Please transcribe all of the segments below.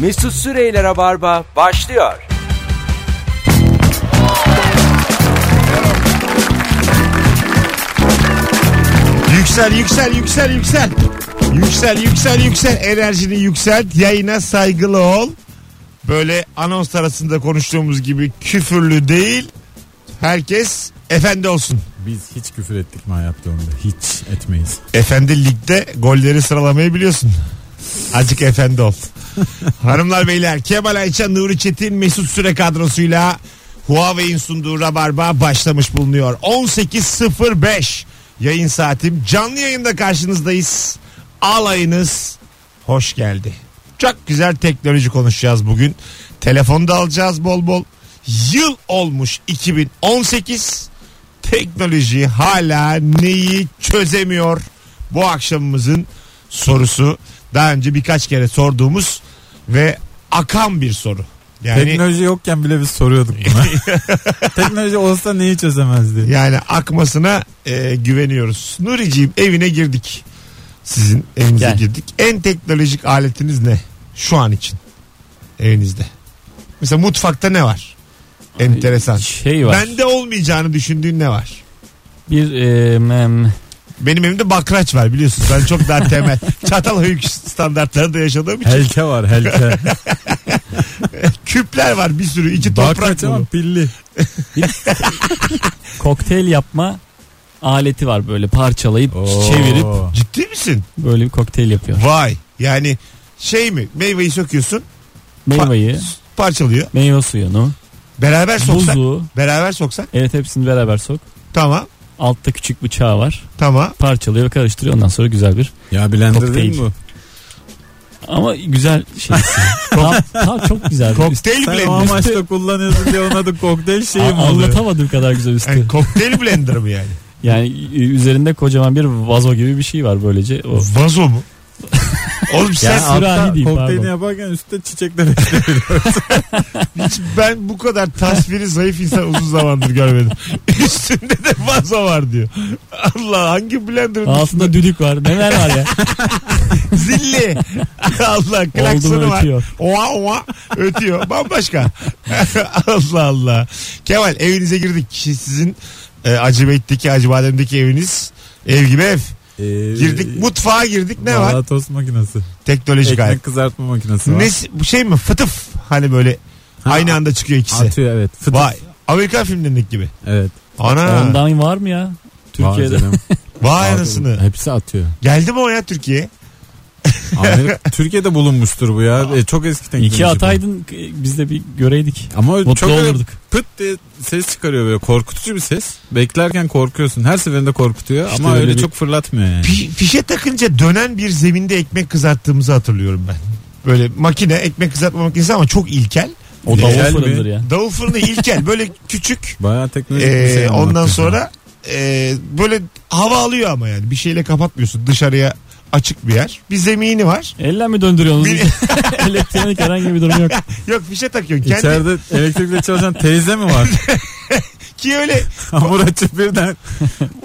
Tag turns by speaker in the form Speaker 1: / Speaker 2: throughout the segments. Speaker 1: Mesut Süreyler'e barba başlıyor.
Speaker 2: Yüksel yüksel yüksel yüksel. Yüksel yüksel yüksel enerjini yükselt. Yayına saygılı ol. Böyle anons arasında konuştuğumuz gibi küfürlü değil. Herkes efendi olsun.
Speaker 3: Biz hiç küfür ettik mi hayatta onda? Hiç etmeyiz.
Speaker 2: Efendi ligde golleri sıralamayı biliyorsun. Acık efendi ol. Hanımlar beyler Kemal Ayça, Nuri Çetin, Mesut Süre kadrosuyla Huawei'in sunduğu Rabarba başlamış bulunuyor. 18.05 yayın saatim. Canlı yayında karşınızdayız. Alayınız hoş geldi. Çok güzel teknoloji konuşacağız bugün. Telefonu da alacağız bol bol. Yıl olmuş 2018. Teknoloji hala neyi çözemiyor? Bu akşamımızın sorusu. Daha önce birkaç kere sorduğumuz ve akan bir soru. Yani
Speaker 3: Teknoloji yokken bile biz soruyorduk buna. Teknoloji olsa neyi çözemezdi?
Speaker 2: yani akmasına e, güveniyoruz. Nuriciğim evine girdik. Sizin evinize
Speaker 3: Gel.
Speaker 2: girdik. En teknolojik aletiniz ne şu an için evinizde? Mesela mutfakta ne var? Enteresan.
Speaker 4: Şey var.
Speaker 2: Bende olmayacağını düşündüğün ne var?
Speaker 4: Bir e, mem-
Speaker 2: Benim evimde bakraç var biliyorsunuz. Ben çok daha temel. Çatal höyük standartlarında yaşadığım için.
Speaker 3: Helke var helke.
Speaker 2: Küpler var bir sürü. iki toprak
Speaker 3: Bakmaç ama
Speaker 2: dolu.
Speaker 3: pilli.
Speaker 4: kokteyl yapma aleti var böyle parçalayıp
Speaker 3: Oo.
Speaker 4: çevirip
Speaker 2: Ciddi misin?
Speaker 4: böyle bir kokteyl yapıyor.
Speaker 2: Vay. Yani şey mi? Meyveyi söküyorsun.
Speaker 4: Meyveyi,
Speaker 2: Parçalıyor.
Speaker 4: meyve suyunu,
Speaker 2: Beraber soksak.
Speaker 4: buzu,
Speaker 2: Beraber soksak.
Speaker 4: evet hepsini beraber sok.
Speaker 2: Tamam.
Speaker 4: Altta küçük bıçağı var.
Speaker 2: Tamam.
Speaker 4: Parçalıyor, karıştırıyor. Ondan sonra güzel bir.
Speaker 3: Ya blender değil
Speaker 4: Kokteyl.
Speaker 3: mi bu?
Speaker 4: Ama güzel şey. tam, tam çok güzel. Üst-
Speaker 2: Kokteyl
Speaker 3: Sen o
Speaker 2: blender.
Speaker 3: amaçla kullanıyorsun diye onun adı kokteyl şeyi mi
Speaker 4: A-
Speaker 3: oluyor?
Speaker 4: anlatamadığım kadar güzel üstü.
Speaker 2: Yani kokteyl blender mı yani?
Speaker 4: Yani e, üzerinde kocaman bir vazo gibi bir şey var böylece. O
Speaker 2: Vazo mu? Oğlum sen
Speaker 3: Yani altta
Speaker 4: sürahi değil,
Speaker 3: kokteylini
Speaker 4: pardon.
Speaker 3: yaparken üstte çiçekler
Speaker 2: hiç ben bu kadar tasviri zayıf insan uzun zamandır görmedim. Üstünde de vazo var diyor. Allah hangi blenderın
Speaker 4: altında düdük var. Neler var ya?
Speaker 2: Zilli. Allah
Speaker 4: Oldu
Speaker 2: klaksonu
Speaker 4: mu
Speaker 2: var.
Speaker 4: ötüyor.
Speaker 2: Oha oha ötüyor. Bambaşka. Allah Allah. Kemal evinize girdik. Sizin e, Acıbeyt'teki Acıbadem'deki eviniz ev gibi ev.
Speaker 4: Ee,
Speaker 2: Girdik mutfağa girdik ne var?
Speaker 3: Valla Ee, tost makinesi.
Speaker 2: Teknolojik
Speaker 3: Ekmek
Speaker 2: alet.
Speaker 3: kızartma makinesi var.
Speaker 2: Ne bu şey mi? Fıtıf. Hani böyle
Speaker 3: Ha,
Speaker 2: aynı anda çıkıyor ikisi.
Speaker 3: Atıyor evet. Fıtık.
Speaker 2: Vay. Amerikan filmlerindeki gibi.
Speaker 3: Evet.
Speaker 2: Ana.
Speaker 4: Ondan var mı ya? Türkiye'de.
Speaker 3: Var canım.
Speaker 2: Vay
Speaker 3: Var
Speaker 2: anasını.
Speaker 3: canım. Hepsi atıyor.
Speaker 2: Geldi mi o ya Türkiye'ye?
Speaker 3: Amerika- Türkiye'de bulunmuştur bu ya. E, çok eski teknoloji.
Speaker 4: İki
Speaker 3: bu.
Speaker 4: ataydın e, biz de bir göreydik.
Speaker 3: Ama
Speaker 4: Mutlu
Speaker 3: çok öyle
Speaker 4: olurduk.
Speaker 3: pıt diye ses çıkarıyor böyle korkutucu bir ses. Beklerken korkuyorsun. Her seferinde korkutuyor
Speaker 4: İşte
Speaker 3: ama
Speaker 4: öyle
Speaker 3: öyle
Speaker 4: bir-
Speaker 3: çok fırlatmıyor yani.
Speaker 2: Fi- fişe takınca dönen bir zeminde ekmek kızarttığımızı hatırlıyorum ben. Böyle makine ekmek kızartma makinesi ama çok ilkel.
Speaker 4: O davul
Speaker 3: Legal mi?
Speaker 4: fırındır ya.
Speaker 2: Davul fırını ilkel böyle küçük.
Speaker 3: Bayağı teknolojik bir
Speaker 2: Ee,
Speaker 3: şey. ama
Speaker 2: ondan
Speaker 3: hakikaten.
Speaker 2: sonra ee, böyle hava alıyor ama yani bir şeyle kapatmıyorsun dışarıya açık bir yer. Bir zemini var.
Speaker 4: Elle mi döndürüyorsunuz?
Speaker 2: Bir-
Speaker 4: Elektronik herhangi bir durum yok.
Speaker 2: Yok fişe takıyorsun. Kendi,
Speaker 3: İçeride elektrikle çalışan teyze mi var?
Speaker 2: Ki öyle
Speaker 3: Hamur açıp birden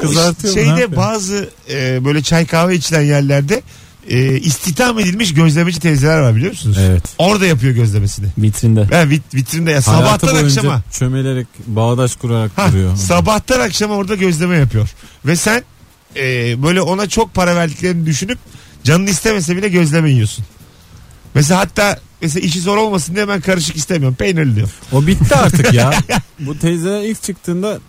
Speaker 3: kızartıyor. mu? Ne
Speaker 2: şeyde
Speaker 3: yapıyor?
Speaker 2: bazı ee, böyle çay kahve içilen yerlerde ee, istihdam edilmiş gözlemeci teyzeler var biliyor musunuz?
Speaker 3: Evet.
Speaker 2: Orada yapıyor gözlemesini.
Speaker 4: Vitrinde.
Speaker 2: Ben vit, vitrinde ya
Speaker 3: Hayatı
Speaker 2: sabahtan
Speaker 3: boyunca
Speaker 2: akşama.
Speaker 3: Çömelerek bağdaş kurarak
Speaker 2: Ha,
Speaker 3: duruyor.
Speaker 2: sabahtan akşama orada gözleme yapıyor. Ve sen e, böyle ona çok para verdiklerini düşünüp canını istemese bile gözleme yiyorsun. Mesela hatta mesela işi zor olmasın diye ben karışık istemiyorum. Peynirli diyorum.
Speaker 3: O bitti artık ya. Bu teyze ilk çıktığında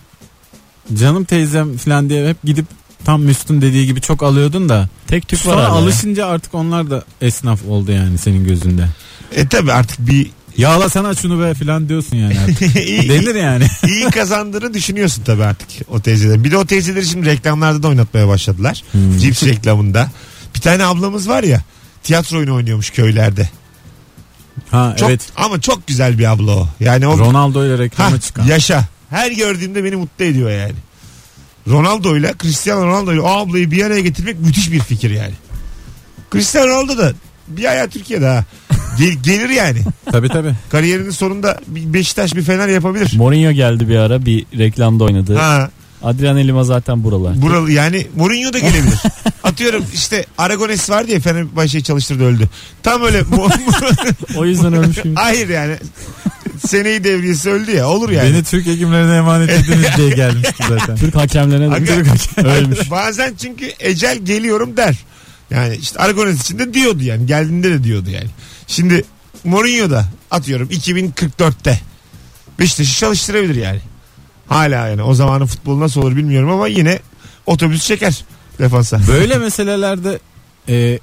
Speaker 3: canım teyzem falan diye hep gidip tam Müslüm dediği gibi çok alıyordun da.
Speaker 4: Tek tük var
Speaker 3: Sonra
Speaker 4: hala ya.
Speaker 3: alışınca artık onlar da esnaf oldu yani senin gözünde.
Speaker 2: E tabi artık bir
Speaker 3: Yağla sana şunu be falan diyorsun yani artık.
Speaker 2: iyi,
Speaker 3: Denir yani.
Speaker 2: iyi kazandığını düşünüyorsun tabi artık o teyzeden. Bir de o teyzeleri şimdi reklamlarda da oynatmaya başladılar. Cips reklamında. Bir tane ablamız var ya tiyatro oyunu oynuyormuş köylerde.
Speaker 3: Ha
Speaker 2: Çok,
Speaker 3: evet.
Speaker 2: Ama çok güzel bir abla o. Yani o
Speaker 3: Ronaldo ile reklama
Speaker 2: Ha,
Speaker 3: çıkan.
Speaker 2: yaşa. Her gördüğümde beni mutlu ediyor yani. Ronaldo'yla Cristiano Ronaldo'yla o ablayı bir araya getirmek müthiş bir fikir yani. Cristiano Ronaldo da bir ayağı Türkiye'de ha. Gel- gelir yani.
Speaker 3: Tabii tabii.
Speaker 2: Kariyerinin sonunda bir Beşiktaş bir Fener yapabilir.
Speaker 4: Mourinho geldi bir ara bir reklamda oynadı.
Speaker 2: Ha.
Speaker 4: Adrian Elima zaten buralar.
Speaker 2: Buralı yani Mourinho da gelebilir. Atıyorum işte Aragones var diye Fenerbahçe'yi çalıştırdı öldü. Tam öyle
Speaker 4: O yüzden ölmüşüm.
Speaker 2: hayır yani seneyi devriyesi öldü ya olur yani.
Speaker 3: Beni Türk hekimlerine emanet ettiniz diye gelmişti zaten.
Speaker 4: Türk hakemlerine
Speaker 2: Aga-
Speaker 4: de ölmüş.
Speaker 2: Bazen çünkü ecel geliyorum der. Yani işte Aragones için de diyordu yani. Geldiğinde de diyordu yani. Şimdi Mourinho da atıyorum 2044'te Beşiktaş'ı çalıştırabilir yani. Hala yani o zamanın futbolu nasıl olur bilmiyorum ama yine otobüs çeker defansa.
Speaker 3: Böyle meselelerde e,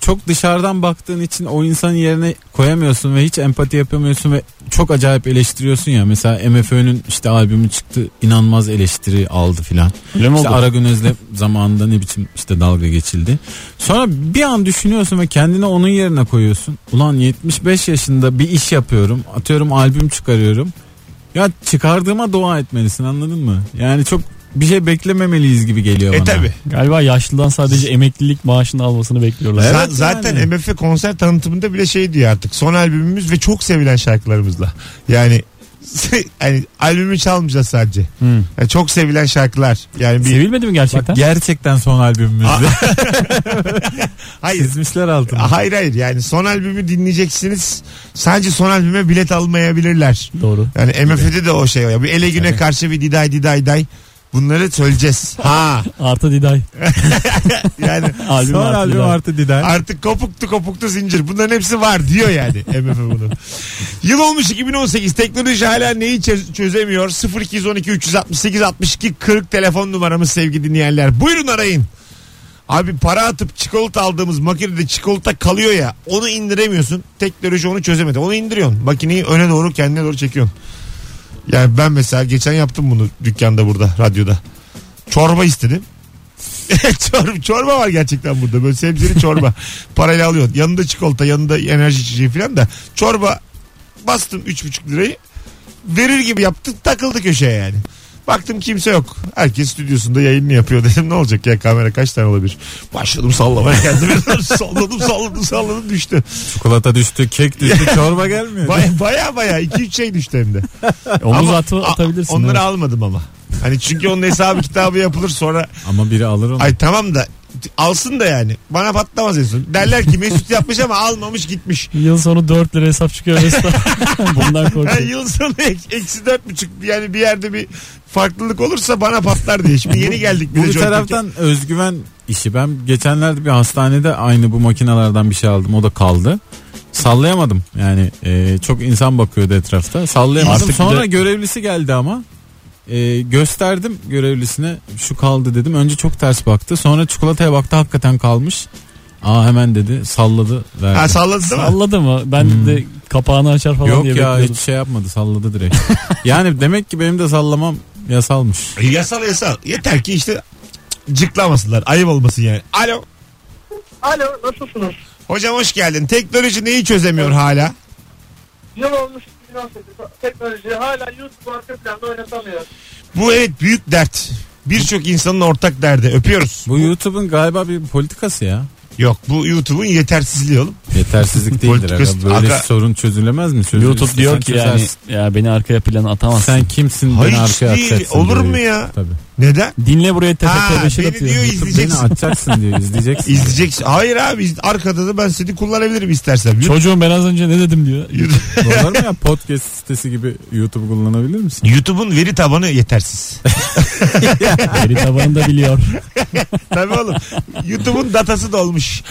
Speaker 3: çok dışarıdan baktığın için o insanın yerine koyamıyorsun ve hiç empati yapamıyorsun ve çok acayip eleştiriyorsun ya. Mesela MFÖ'nün işte albümü çıktı inanılmaz eleştiri aldı filan.
Speaker 4: Öyle mi
Speaker 3: İşte
Speaker 4: oldu?
Speaker 3: Aragün Özlem zamanında ne biçim işte dalga geçildi. Sonra bir an düşünüyorsun ve kendini onun yerine koyuyorsun. Ulan 75 yaşında bir iş yapıyorum. Atıyorum albüm çıkarıyorum. Ya çıkardığıma dua etmelisin anladın mı? Yani çok bir şey beklememeliyiz gibi geliyor
Speaker 2: E
Speaker 3: bana.
Speaker 2: tabi.
Speaker 4: Galiba yaşlıdan sadece emeklilik maaşını almasını bekliyorlar.
Speaker 3: Evet
Speaker 2: Za- zaten
Speaker 3: yani.
Speaker 2: MF konser tanıtımında bile şey diyor artık. Son albümümüz ve çok sevilen şarkılarımızla. Yani yani albümü çalmayacağız sadece.
Speaker 4: Hı.
Speaker 2: Yani çok sevilen şarkılar. Yani bir
Speaker 4: Sevilmedi mi gerçekten?
Speaker 3: Bak gerçekten son albümümüzde
Speaker 2: hayır
Speaker 3: çizmişler altına.
Speaker 2: Hayır hayır yani son albümü dinleyeceksiniz. Sadece son albüme bilet almayabilirler.
Speaker 4: Doğru.
Speaker 2: Yani MF'de de o şey var. ya. Bir ele güne karşı bir diday diday day. Bunları söyleyeceğiz. Ha
Speaker 4: Artı Diday.
Speaker 2: yani
Speaker 4: Albüm
Speaker 3: Son
Speaker 4: artı
Speaker 3: albüm
Speaker 4: Diday.
Speaker 3: artı Diday.
Speaker 2: artık kopuktu kopuktu zincir. Bunların hepsi var diyor yani MF bunu. Yıl olmuş 2018 teknoloji hala neyi çö- çözemiyor? 0212 368 62 40 telefon numaramız sevgili dinleyenler. Buyurun arayın. Abi para atıp çikolata aldığımız makinede çikolata kalıyor ya onu indiremiyorsun. Teknoloji onu çözemedi. Onu indiriyorsun. Makineyi öne doğru kendine doğru çekiyorsun. Yani ben mesela geçen yaptım bunu dükkanda burada radyoda. Çorba istedim. çorba, çorba var gerçekten burada. Böyle sebzeli çorba. Parayla alıyorsun. Yanında çikolata yanında enerji içeceği falan da. Çorba bastım 3,5 lirayı. Verir gibi yaptım takıldı köşeye yani. Baktım kimse yok. Herkes stüdyosunda yayınını yapıyor dedim. Ne olacak ya kamera kaç tane olabilir? Başladım sallamaya kendimi. salladım salladım salladım düştü.
Speaker 3: Çikolata düştü, kek düştü, çorba gelmiyor.
Speaker 2: Baya baya baya 2-3 şey düştü hem de.
Speaker 4: Omuz
Speaker 2: Ama-
Speaker 4: atı
Speaker 2: a-
Speaker 4: atabilirsin.
Speaker 2: Onları
Speaker 4: evet.
Speaker 2: almadım ama. Hani çünkü onun hesabı kitabı yapılır sonra
Speaker 3: Ama biri alır onu.
Speaker 2: Ay tamam da alsın da yani. Bana patlamaz en son. Derler ki Mesut yapmış ama almamış gitmiş.
Speaker 4: Yıl sonu 4 lira hesap çıkıyor. Bundan
Speaker 2: Ha,
Speaker 4: korkuyorum.
Speaker 2: yıl sonu ek- eksi dört buçuk yani bir yerde bir farklılık olursa bana patlar diye. Şimdi yeni geldik.
Speaker 3: Bu
Speaker 2: de
Speaker 3: bir
Speaker 2: Joy Türk'e.
Speaker 3: taraftan özgüven işi. Ben geçenlerde bir hastanede aynı bu makinelerden bir şey aldım. O da kaldı. Sallayamadım. Yani e, çok insan bakıyordu etrafta. Sallayamadım.
Speaker 4: Artık bir
Speaker 3: Sonra
Speaker 4: de-
Speaker 3: görevlisi geldi ama. E, gösterdim görevlisine şu kaldı dedim. Önce çok ters baktı. Sonra çikolataya baktı hakikaten kalmış. Aa hemen dedi salladı verdi.
Speaker 2: Ha salladı değil mi?
Speaker 4: Salladı mı? Ben de kapağını açar falan
Speaker 3: Yok
Speaker 4: diye
Speaker 3: ya
Speaker 4: bekliyordum.
Speaker 3: hiç şey yapmadı salladı direkt. yani demek ki benim de sallamam yasalmış.
Speaker 2: E, Yasal yasal. Yeter ki işte cıklamasınlar. Ayıp olmasın yani. Alo.
Speaker 5: Alo nasılsınız?
Speaker 2: Hocam hoş geldin. Teknoloji neyi çözemiyor hala?
Speaker 5: Yıl olmuş 2018 teknoloji hala YouTube arka planda oynatamıyor.
Speaker 2: Bu evet büyük dert. Birçok insanın ortak derdi. Öpüyoruz.
Speaker 3: Bu YouTube'un galiba bir politikası ya.
Speaker 2: Yok bu YouTube'un yetersizliği oğlum.
Speaker 3: Yetersizlik değildir.
Speaker 2: Politikası-
Speaker 3: aga. Böyle
Speaker 2: Aga-
Speaker 3: sorun çözülemez mi? Çözülürse
Speaker 4: YouTube diyor
Speaker 3: sen
Speaker 4: ki yani
Speaker 3: çözersin.
Speaker 4: ya beni arkaya plana atamazsın.
Speaker 3: sen kimsin
Speaker 2: Hayır,
Speaker 3: beni
Speaker 2: hiç
Speaker 3: arkaya
Speaker 2: değil.
Speaker 3: atacaksın
Speaker 2: Olur
Speaker 3: diyor.
Speaker 2: mu ya?
Speaker 3: Tabii.
Speaker 2: Neden?
Speaker 4: Dinle buraya tepe
Speaker 2: Ha,
Speaker 4: tebeşir
Speaker 2: beni
Speaker 4: atıyor.
Speaker 2: diyor
Speaker 3: YouTube
Speaker 2: İzleyeceksin.
Speaker 3: Beni atacaksın diyor izleyeceksin.
Speaker 2: İzleyeceksin. Hayır abi iz- arkada da ben seni kullanabilirim istersen. Yut-
Speaker 4: Çocuğum ben az önce ne dedim diyor.
Speaker 2: Yut-
Speaker 3: Olur mu ya podcast sitesi gibi YouTube kullanabilir misin?
Speaker 2: YouTube'un veri tabanı yetersiz.
Speaker 4: Veri tabanını da biliyor.
Speaker 2: Tabii oğlum. YouTube'un datası dolmuş.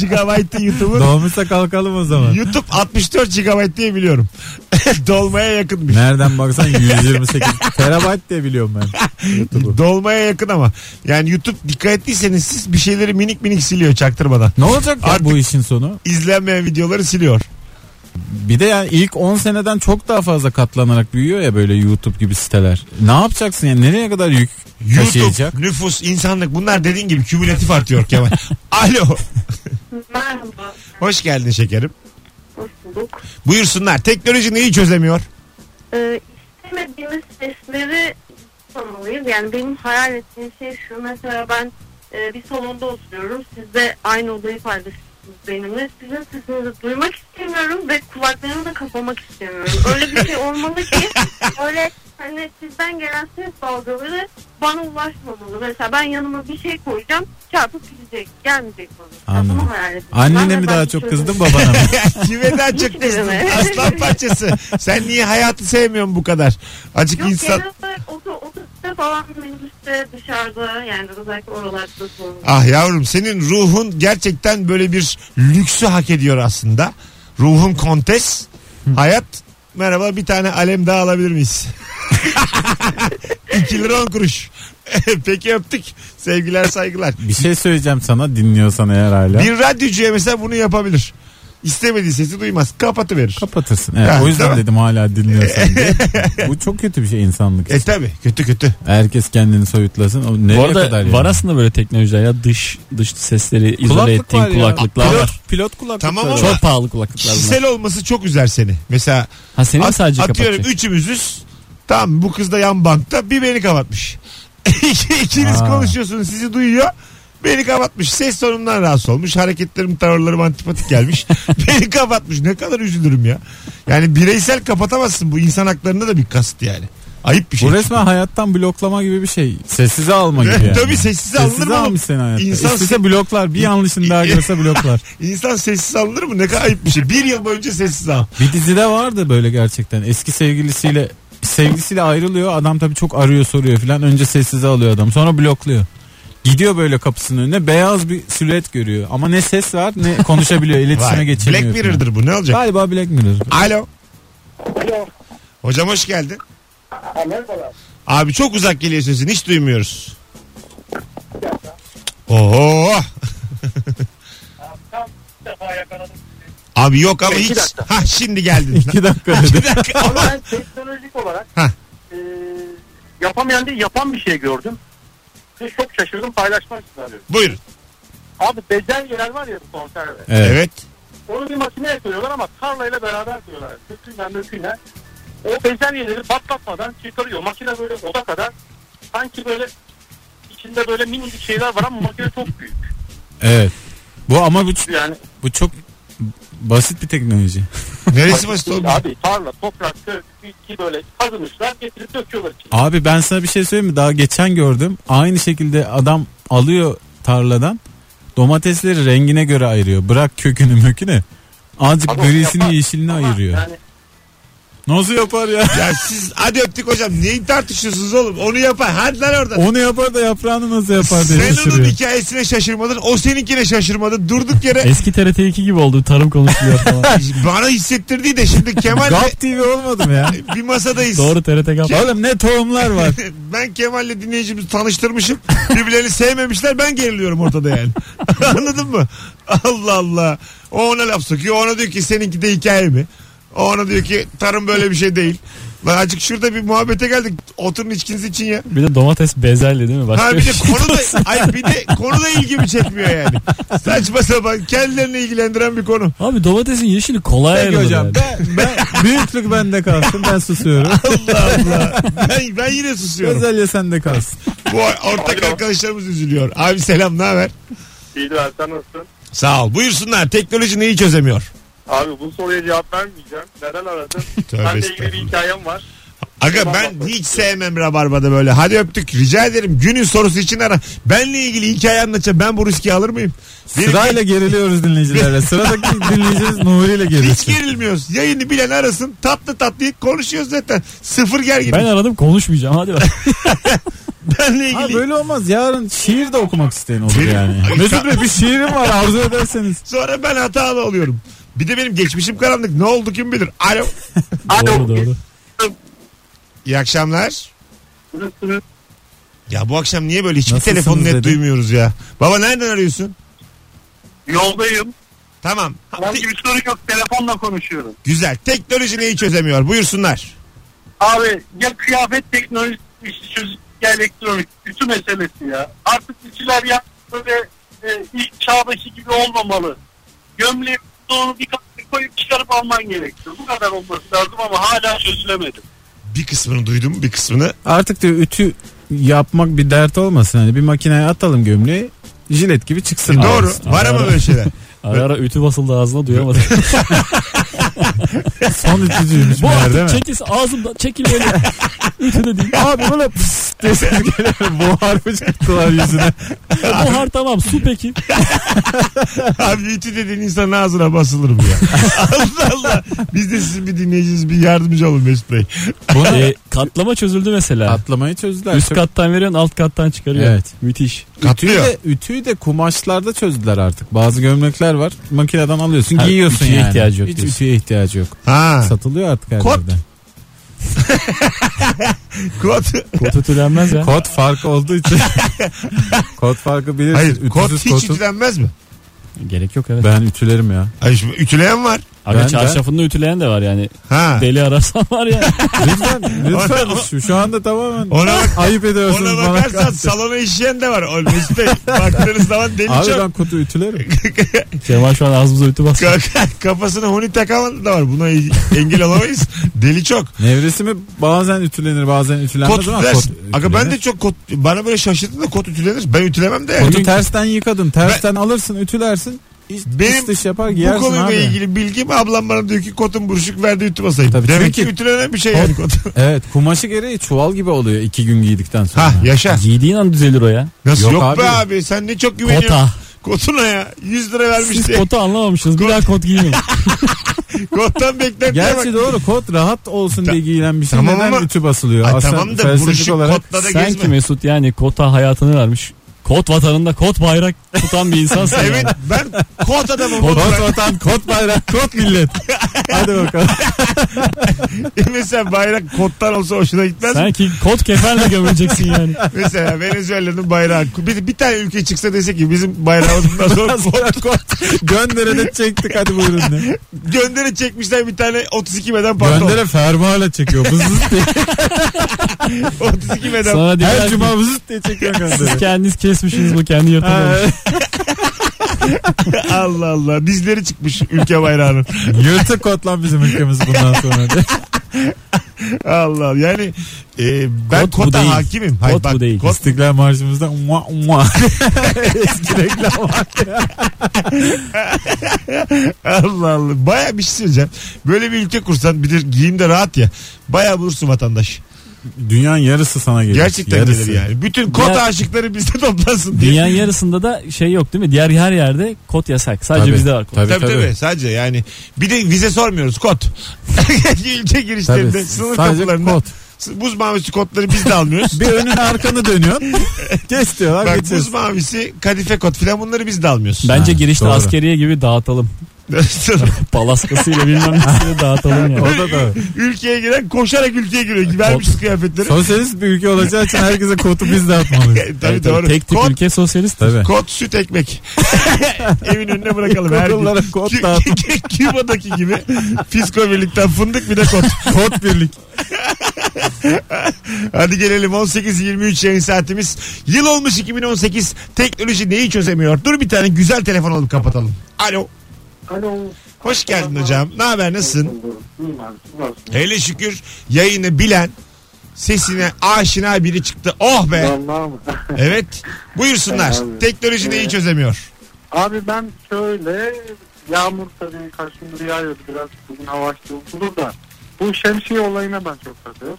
Speaker 2: Gigabyte'ı YouTube'un.
Speaker 3: Doğmuşsa kalkalım o zaman.
Speaker 2: YouTube 64 GB diye biliyorum. Dolmaya yakınmış.
Speaker 3: Nereden baksan 128 terabayt diye biliyorum ben. YouTube'u.
Speaker 2: Dolmaya yakın ama. Yani YouTube dikkat ettiyseniz siz bir şeyleri minik minik siliyor çaktırmadan.
Speaker 3: Ne olacak ya
Speaker 2: Artık-
Speaker 3: bu işin sonu?
Speaker 2: İzlenmeyen videoları siliyor.
Speaker 3: Bir de yani ilk 10 seneden çok daha fazla katlanarak büyüyor ya böyle YouTube gibi siteler. Ne yapacaksın yani nereye kadar yük
Speaker 2: YouTube,
Speaker 3: taşıyacak?
Speaker 2: nüfus, insanlık bunlar dediğin gibi kümülatif artıyor Kemal. Alo.
Speaker 5: Merhaba.
Speaker 2: Hoş geldin şekerim.
Speaker 5: Hoş bulduk.
Speaker 2: Buyursunlar. Teknoloji neyi çözemiyor?
Speaker 5: Ee, istemediğimiz sesleri tanımalıyız. Yani benim hayal ettiğim şey şu. Mesela ben e, bir salonda oturuyorum. Siz de aynı odayı paylaşıyorsunuz benimle. Sizin sesinizi duymak istemiyorum ve kulaklarımı da kapamak istemiyorum. Öyle bir şey olmalı ki öyle hani sizden gelen ses dalgaları bana ulaşmamalı. Mesela ben yanıma bir şey koyacağım çarpıp gidecek. Gelmeyecek bana. Yani
Speaker 3: Anladım.
Speaker 5: Bunu hayal ediyorum. Ben
Speaker 3: Annene
Speaker 5: de
Speaker 3: mi
Speaker 5: ben şey
Speaker 3: daha çok
Speaker 5: çözüm-
Speaker 3: kızdın babana mı?
Speaker 2: Kime daha çok kızdın?
Speaker 5: Hiçbirine.
Speaker 2: Aslan parçası. Sen niye hayatı sevmiyorsun bu kadar? Acık
Speaker 5: Yok
Speaker 2: insan...
Speaker 5: genel olarak otu- otobüste falan minibüste dışarıda yani özellikle oralarda sorun.
Speaker 2: Ah yavrum senin ruhun gerçekten böyle bir lüksü hak ediyor aslında. Ruhun kontes. Hayat merhaba bir tane alem daha alabilir miyiz? 2 lira 10 kuruş. Peki öptük. Sevgiler saygılar.
Speaker 3: Bir şey söyleyeceğim sana dinliyorsan eğer hala.
Speaker 2: Bir radyocuya mesela bunu yapabilir. İstemediği sesi duymaz. Kapatıverir.
Speaker 3: Kapatırsın. Evet,
Speaker 2: Ha,
Speaker 3: o
Speaker 2: değil
Speaker 3: yüzden
Speaker 2: mi?
Speaker 3: dedim hala dinliyorsan diye. Bu çok kötü bir şey insanlık.
Speaker 2: E tabi kötü kötü.
Speaker 3: Herkes kendini soyutlasın. O nereye
Speaker 4: Bu arada
Speaker 3: kadar yani?
Speaker 4: var aslında böyle teknolojiler ya dış dış sesleri
Speaker 3: Kulaklık
Speaker 4: izole ettiğin
Speaker 3: var ya.
Speaker 4: kulaklıklar
Speaker 3: pilot,
Speaker 4: var.
Speaker 3: Pilot kulaklıklar
Speaker 2: Tamam
Speaker 3: var.
Speaker 2: ama-
Speaker 4: Çok pahalı kulaklıklar bunlar.
Speaker 2: Kişisel olması çok üzer seni. Mesela
Speaker 4: Ha seni mi
Speaker 2: At-
Speaker 4: sadece
Speaker 2: atıyorum
Speaker 4: kapatacak?
Speaker 2: üçümüzüz. Tamam bu kız da yan bankta bir beni kapatmış. İki- İkiniz
Speaker 3: Aa.
Speaker 2: konuşuyorsunuz sizi duyuyor. Beni kapatmış. Ses tonumdan rahatsız olmuş. Hareketlerim, tavırlarım antipatik gelmiş. beni kapatmış. Ne kadar üzülürüm ya. Yani bireysel kapatamazsın. Bu insan haklarında da bir kast yani. Ayıp bir şey.
Speaker 3: Bu resmen hayattan bloklama gibi bir şey. Sessize alma gibi yani.
Speaker 2: Tabii sessize alınır mı? oğlum?
Speaker 3: almış seni hayatta.
Speaker 2: İnsan-
Speaker 3: İstese bloklar. Bir yanlışını daha görse bloklar.
Speaker 2: İnsan sessiz alınır mı? Ne kadar ayıp bir şey. Bir yıl boyunca sessiz al.
Speaker 3: Bir dizide vardı böyle gerçekten. Eski sevgilisiyle sevgilisiyle ayrılıyor. Adam tabii çok arıyor soruyor filan. Önce sessize alıyor adam. Sonra blokluyor. Gidiyor böyle kapısının önüne beyaz bir silüet görüyor. Ama ne ses var ne konuşabiliyor. iletişime
Speaker 2: Vay,
Speaker 3: geçemiyor.
Speaker 2: Black
Speaker 3: filan.
Speaker 2: Mirror'dır bu. Ne olacak?
Speaker 3: Galiba Black Mirror.
Speaker 2: Alo.
Speaker 6: Alo.
Speaker 2: Hocam hoş geldin.
Speaker 6: Ha, merhabalar.
Speaker 2: Abi çok uzak geliyor sesin hiç duymuyoruz. Oho.
Speaker 6: Tam bir defa yakaladım.
Speaker 2: Abi yok ama
Speaker 6: İki
Speaker 2: hiç.
Speaker 6: dakika.
Speaker 2: Ha şimdi geldin.
Speaker 3: İki dakika dedi.
Speaker 2: Bir dakika
Speaker 6: Ama
Speaker 2: ama
Speaker 6: ben teknolojik olarak
Speaker 2: Hah.
Speaker 6: e, yapamayan değil yapan bir şey gördüm. Ve çok şaşırdım paylaşmak için arıyorum.
Speaker 2: buyurun.
Speaker 6: Abi bezelyeler var ya bu konserve.
Speaker 3: Evet.
Speaker 2: Evet.
Speaker 6: Onu bir makineye koyuyorlar ama tarlayla beraber koyuyorlar. Köküyle möküyle. O bezelyeleri patlatmadan çıkarıyor. Makine böyle oda kadar. Sanki böyle içinde böyle minicik şeyler var ama makine çok büyük.
Speaker 3: Evet. Bu ama bu,
Speaker 6: Yani
Speaker 3: bu çok basit bir teknoloji.
Speaker 2: Neresi basit oldu?
Speaker 6: Abi tarla, toprak, kök, bitki böyle kazımışlar getirip döküyorlar içine.
Speaker 3: Abi ben sana bir şey söyleyeyim mi? Daha geçen gördüm. Aynı şekilde adam alıyor tarladan. Domatesleri rengine göre ayırıyor. Bırak kökünü mökünü. Azıcık
Speaker 6: Abi onu yapar.
Speaker 3: grisini yeşilini
Speaker 6: Ama
Speaker 3: ayırıyor.
Speaker 6: Yani
Speaker 3: Nasıl yapar ya?
Speaker 2: Ya siz hadi öptük hocam. Neyi tartışıyorsunuz oğlum? Onu yapar. Hadi lan oradan.
Speaker 3: Onu yapar da yaprağını nasıl yapar diye
Speaker 2: Sen onun
Speaker 3: şaşırıyor.
Speaker 2: hikayesine şaşırmadın. O seninkine şaşırmadı. Durduk yere
Speaker 4: Eski TRT2 gibi oldu tarım konuşuluyor falan.
Speaker 2: bana hissettirdiği de şimdi Kemal'le
Speaker 3: Gap TV olmadı mı ya?
Speaker 2: bir masadayız.
Speaker 4: Doğru TRT kap.
Speaker 3: Oğlum ne tohumlar var.
Speaker 2: ben Kemal'le dinleyicimizi tanıştırmışım. Birbirlerini sevmemişler. Ben geriliyorum ortada yani. Anladın mı? Allah Allah. O ona laf sokuyor. Ona diyor ki seninki de hikaye mi? O ona diyor ki tarım böyle bir şey değil. Lan azıcık şurada bir muhabbete geldik. Oturun içkiniz için ya.
Speaker 4: Bir de domates bezelye değil mi? Başka
Speaker 2: Ha
Speaker 4: bir
Speaker 2: bir de
Speaker 4: şey
Speaker 2: konu da,
Speaker 4: olsa-
Speaker 2: ay bir de konu da ilgimi çekmiyor yani. Saçma sapan kendilerini ilgilendiren bir konu.
Speaker 4: Abi domatesin yeşili kolay
Speaker 3: Peki
Speaker 4: ayrılır
Speaker 3: hocam
Speaker 4: yani.
Speaker 3: ben, ben, büyüklük bende kalsın ben susuyorum.
Speaker 2: Allah Allah. Ben, ben yine susuyorum.
Speaker 3: Özellikle sende kalsın.
Speaker 2: Bu ortak
Speaker 6: Alo.
Speaker 2: arkadaşlarımız üzülüyor. Abi selam ne haber?
Speaker 6: İyiler sen nasılsın?
Speaker 2: Sağ ol. Buyursunlar. Teknoloji neyi çözemiyor?
Speaker 6: Abi bu soruya cevap vermeyeceğim. Neden aradın?
Speaker 2: Tövbe
Speaker 6: ben de ilgili bir
Speaker 2: estağfurullah.
Speaker 6: hikayem var.
Speaker 2: Aga ben hiç sevmem rabarbada böyle. Hadi öptük. Rica ederim. Günün sorusu için ara. Benle ilgili hikaye anlatacağım. Ben bu riski alır mıyım? Benim-
Speaker 3: Sırayla geriliyoruz dinleyicilere. Sıradaki dinleyicimiz Nuri ile
Speaker 2: hiç
Speaker 3: gelir.
Speaker 2: gerilmiyoruz. Yayını bilen arasın. Tatlı tatlı konuşuyoruz zaten. Sıfır gergin.
Speaker 4: Ben aradım konuşmayacağım hadi bak.
Speaker 2: Benle
Speaker 3: Ha
Speaker 2: ilgili.
Speaker 3: böyle olmaz. Yarın şiir de okumak isteyen olur
Speaker 2: Benim-
Speaker 3: yani. Mesut Bey bir şiirim var arzu ederseniz.
Speaker 2: Sonra ben hatalı oluyorum. Bir de benim geçmişim karanlık. Ne oldu kim bilir. Alo.
Speaker 4: doğru doğru.
Speaker 2: İyi akşamlar.
Speaker 6: Nasılsınız?
Speaker 2: Ya bu akşam niye böyle hiçbir
Speaker 3: Nasılsınız
Speaker 2: telefon net
Speaker 3: dedi.
Speaker 2: duymuyoruz ya. Baba nereden arıyorsun?
Speaker 6: Yoldayım.
Speaker 2: Tamam. Ha, te-
Speaker 6: Herhangi bir soru yok. Telefonla konuşuyorum.
Speaker 2: güzel. Teknoloji neyi çözemiyor? Buyursunlar.
Speaker 6: Abi ya kıyafet teknolojisi çöz- ya elektronik. Bütün meselesi ya. Artık işçiler ya böyle e, ilk çağdaki gibi olmamalı. Gömleğin doğru bir kapıya koyup çıkarıp alman gerekiyor. Bu kadar olması lazım ama hala çözülemedi.
Speaker 2: Bir kısmını duydum bir kısmını
Speaker 3: Artık diyor ütü yapmak bir dert olmasın. Hani bir makineye atalım gömleği jilet gibi çıksın.
Speaker 2: Doğru.
Speaker 3: Ağzına.
Speaker 2: Var ama böyle şeyler.
Speaker 4: Ara ara ütü basıldı ağzına duyamadım.
Speaker 3: Son ütücüymüş
Speaker 4: Bu
Speaker 3: meğer değil
Speaker 4: artık
Speaker 3: mi?
Speaker 4: çekil ağzımdan çekil böyle. Ütü de değil.
Speaker 3: Abi böyle pıs diye ses geliyor. Buharmış gittiler yüzüne.
Speaker 4: Buhar tamam su peki.
Speaker 2: Abi ütü dediğin insanın ağzına basılır bu ya. Allah Allah. Biz de sizin bir dinleyiciniz bir yardımcı olun Mesut Bey.
Speaker 4: E, katlama çözüldü mesela.
Speaker 3: Atlamayı çözdüler.
Speaker 4: Üst
Speaker 3: Çok-
Speaker 4: kattan veriyorsun alt kattan çıkarıyor.
Speaker 3: Evet.
Speaker 4: Müthiş.
Speaker 3: Ütüyü
Speaker 2: Katlıyor.
Speaker 3: de, ütüyü de kumaşlarda çözdüler artık. Bazı gömlekler var. Makineden alıyorsun
Speaker 4: Ha,
Speaker 3: giyiyorsun
Speaker 4: ütüye
Speaker 3: yani.
Speaker 4: ihtiyacı yok
Speaker 3: Hiç
Speaker 4: diyorsun.
Speaker 3: ütüye ihtiyacı yok.
Speaker 2: Ha.
Speaker 3: Satılıyor artık her
Speaker 2: Kot.
Speaker 3: yerde.
Speaker 2: Kot.
Speaker 4: Kot ütülenmez ya.
Speaker 3: Kot farkı olduğu için. kot farkı bilirsin.
Speaker 2: Hayır kot
Speaker 3: Ütüsüz
Speaker 2: hiç
Speaker 3: kotu-
Speaker 2: ütülenmez mi?
Speaker 4: Gerek yok evet.
Speaker 3: Ben ütülerim ya.
Speaker 2: Ay şimdi ütüleyen var.
Speaker 4: Aga
Speaker 3: Ben-
Speaker 4: çarşafında ütüleyen de var yani.
Speaker 2: Ha.
Speaker 4: Deli ararsan var ya.
Speaker 3: Lütfen, lütfen
Speaker 2: Ona-
Speaker 3: şu, şu anda tamamen
Speaker 2: Ona bak-
Speaker 3: ayıp ediyorsunuz
Speaker 2: Ona
Speaker 3: bana.
Speaker 2: bakarsan salona işeyen de var. O Mesut Bey baktığınız zaman deli
Speaker 3: Abi
Speaker 2: çok.
Speaker 3: ben kutu ütülerim.
Speaker 4: Kemal şu an ağzımıza ütü bastı.
Speaker 2: Ka- Kafasına huni takamadı da var. Buna engel olamayız. Deli çok.
Speaker 3: Nevresimi bazen ütülenir bazen ütülenmez
Speaker 2: Kot
Speaker 3: ama
Speaker 2: ters.
Speaker 3: kot
Speaker 2: Aga ben
Speaker 3: ütülenir.
Speaker 2: de çok kot. Bana böyle şaşırttı da kot ütülenir. Ben ütülemem de.
Speaker 3: Kotu tersten yıkadın. Tersten alırsın ütülersin. İç,
Speaker 2: Benim
Speaker 3: iç dış yapar
Speaker 2: Bu
Speaker 3: giyersin
Speaker 2: konuyla
Speaker 3: abi.
Speaker 2: ilgili bilgim ablam bana diyor ki kotun buruşuk verdi ütümasaydı.
Speaker 3: Tabii,
Speaker 2: Demek
Speaker 3: çünkü-
Speaker 2: ki ütülenen bir şey yani kot.
Speaker 3: Evet kumaşı gereği çuval gibi oluyor iki gün giydikten sonra.
Speaker 2: ha yaşa.
Speaker 4: Giydiğin an düzelir o ya.
Speaker 2: Nasıl yok,
Speaker 3: Yok abi.
Speaker 2: be abi sen ne çok güveniyorsun.
Speaker 4: Kota.
Speaker 2: Kotuna ya 100 lira vermiş
Speaker 4: Siz
Speaker 2: diye.
Speaker 4: kotu anlamamışsınız. Bir daha kot giymeyin.
Speaker 2: Kottan beklentiye bak.
Speaker 3: Gerçi doğru kot rahat olsun diye giyilen bir şey.
Speaker 2: tamam
Speaker 3: Neden
Speaker 2: ama-
Speaker 3: ütü basılıyor?
Speaker 2: Ay,
Speaker 3: Aslında
Speaker 2: tamam da
Speaker 3: felsefik
Speaker 2: buruşuk
Speaker 3: olarak
Speaker 2: kotla da
Speaker 4: Sen ki
Speaker 2: gezme.
Speaker 4: Mesut yani kota hayatını vermiş. Kot vatanında kot bayrak tutan bir insansın.
Speaker 2: Evet
Speaker 4: yani.
Speaker 2: ben kot adamım.
Speaker 3: Kot
Speaker 2: oğlum.
Speaker 3: vatan, kot bayrak, kot millet. Hadi bakalım.
Speaker 2: Mesela bayrak kottan olsa hoşuna gitmez mi?
Speaker 4: Sen ki kot kefenle gömüleceksin yani.
Speaker 2: Mesela Venezuela'nın bayrağı. Bir, bir tane ülke çıksa dese ki bizim bayrağımız bundan sonra
Speaker 3: kot, kot. Gönderene çektik hadi buyurun. De.
Speaker 2: göndere çekmişler bir tane 32 beden pantolon.
Speaker 3: Göndere fermuarla çekiyor. Vızız diye.
Speaker 2: 32 beden.
Speaker 4: Sana diyorlar
Speaker 3: Her
Speaker 4: ki,
Speaker 3: cuma vızız diye çekiyor
Speaker 4: siz
Speaker 3: göndere.
Speaker 4: kendiniz kesmişsiniz bu kendi
Speaker 3: Ha,
Speaker 4: yırtılmamış.
Speaker 2: Allah Allah. Dizleri çıkmış ülke bayrağının.
Speaker 3: Yırtık kot lan bizim ülkemiz bundan sonra. diye.
Speaker 2: Allah yani e, ben
Speaker 4: Kot bu
Speaker 2: kota
Speaker 4: değil.
Speaker 2: hakimim.
Speaker 4: Kot bu değil.
Speaker 2: Kot,
Speaker 3: İstiklal Marşımızda mua mua. Eski reklam var.
Speaker 2: Allah Allah. Baya bir şey söyleyeceğim. Böyle bir ülke kursan bir de giyim de rahat ya. Baya bulursun vatandaş.
Speaker 3: Dünyanın yarısı sana gelir.
Speaker 2: Gerçekten
Speaker 3: yarısı.
Speaker 2: gelir yani. Bütün kot
Speaker 4: Ya-
Speaker 2: aşıkları bizde toplansın diye.
Speaker 4: Dünyanın yarısında da şey yok değil mi? Diğer her yerde kot yasak. Sadece
Speaker 3: Tabii,
Speaker 4: bizde var kot.
Speaker 3: tabii.
Speaker 2: Tabii, tabii sadece yani bir de vize sormuyoruz kot. Ülke girişlerinde
Speaker 3: Tabii.
Speaker 2: sınır
Speaker 3: Sadece
Speaker 2: kapılarında
Speaker 3: kot.
Speaker 2: buz mavisi kotları biz de almıyoruz.
Speaker 3: Bir önün arkanı dönüyorsun. Geç diyorlar
Speaker 2: Bak buz
Speaker 3: geçiyorsun.
Speaker 2: mavisi kadife kot filan bunları biz de almıyoruz.
Speaker 4: Bence
Speaker 3: Ha,
Speaker 4: girişte
Speaker 3: doğru.
Speaker 4: askeriye gibi dağıtalım. Palaskasıyla bilmem nesiyle dağıtalım yani.
Speaker 3: O da da.
Speaker 2: ülkeye giren koşarak ülkeye giriyor. Vermişiz kıyafetleri.
Speaker 3: Sosyalist bir ülke olacağı için herkese kotu biz de atmalıyız.
Speaker 2: tabii, doğru.
Speaker 4: Tek tip
Speaker 2: kot,
Speaker 4: ülke sosyalist.
Speaker 3: Tabii.
Speaker 2: kot süt ekmek. Evin önüne bırakalım her gün.
Speaker 3: Kokullara kot
Speaker 2: Kü-
Speaker 3: dağıtın.
Speaker 2: Küba'daki gibi fisko birlikten fındık bir de kot.
Speaker 3: Kot birlik.
Speaker 2: Hadi gelelim 18-23 yayın saatimiz. Yıl olmuş 2018. Teknoloji neyi çözemiyor? Dur bir tane güzel telefon alıp kapatalım. Alo.
Speaker 6: Alo.
Speaker 2: Hoş geldin hocam. Ne haber nasılsın? Hele şükür yayını bilen sesine aşina biri çıktı. Oh be.
Speaker 6: Vallahi mı?
Speaker 2: Evet. Buyursunlar.
Speaker 6: Abi.
Speaker 2: Teknoloji neyi çözemiyor?
Speaker 6: Abi ben şöyle yağmur tabii kaç gündür yağıyordu biraz bugün hava açtı bulur da bu şemsiye olayına ben çok takıyorum.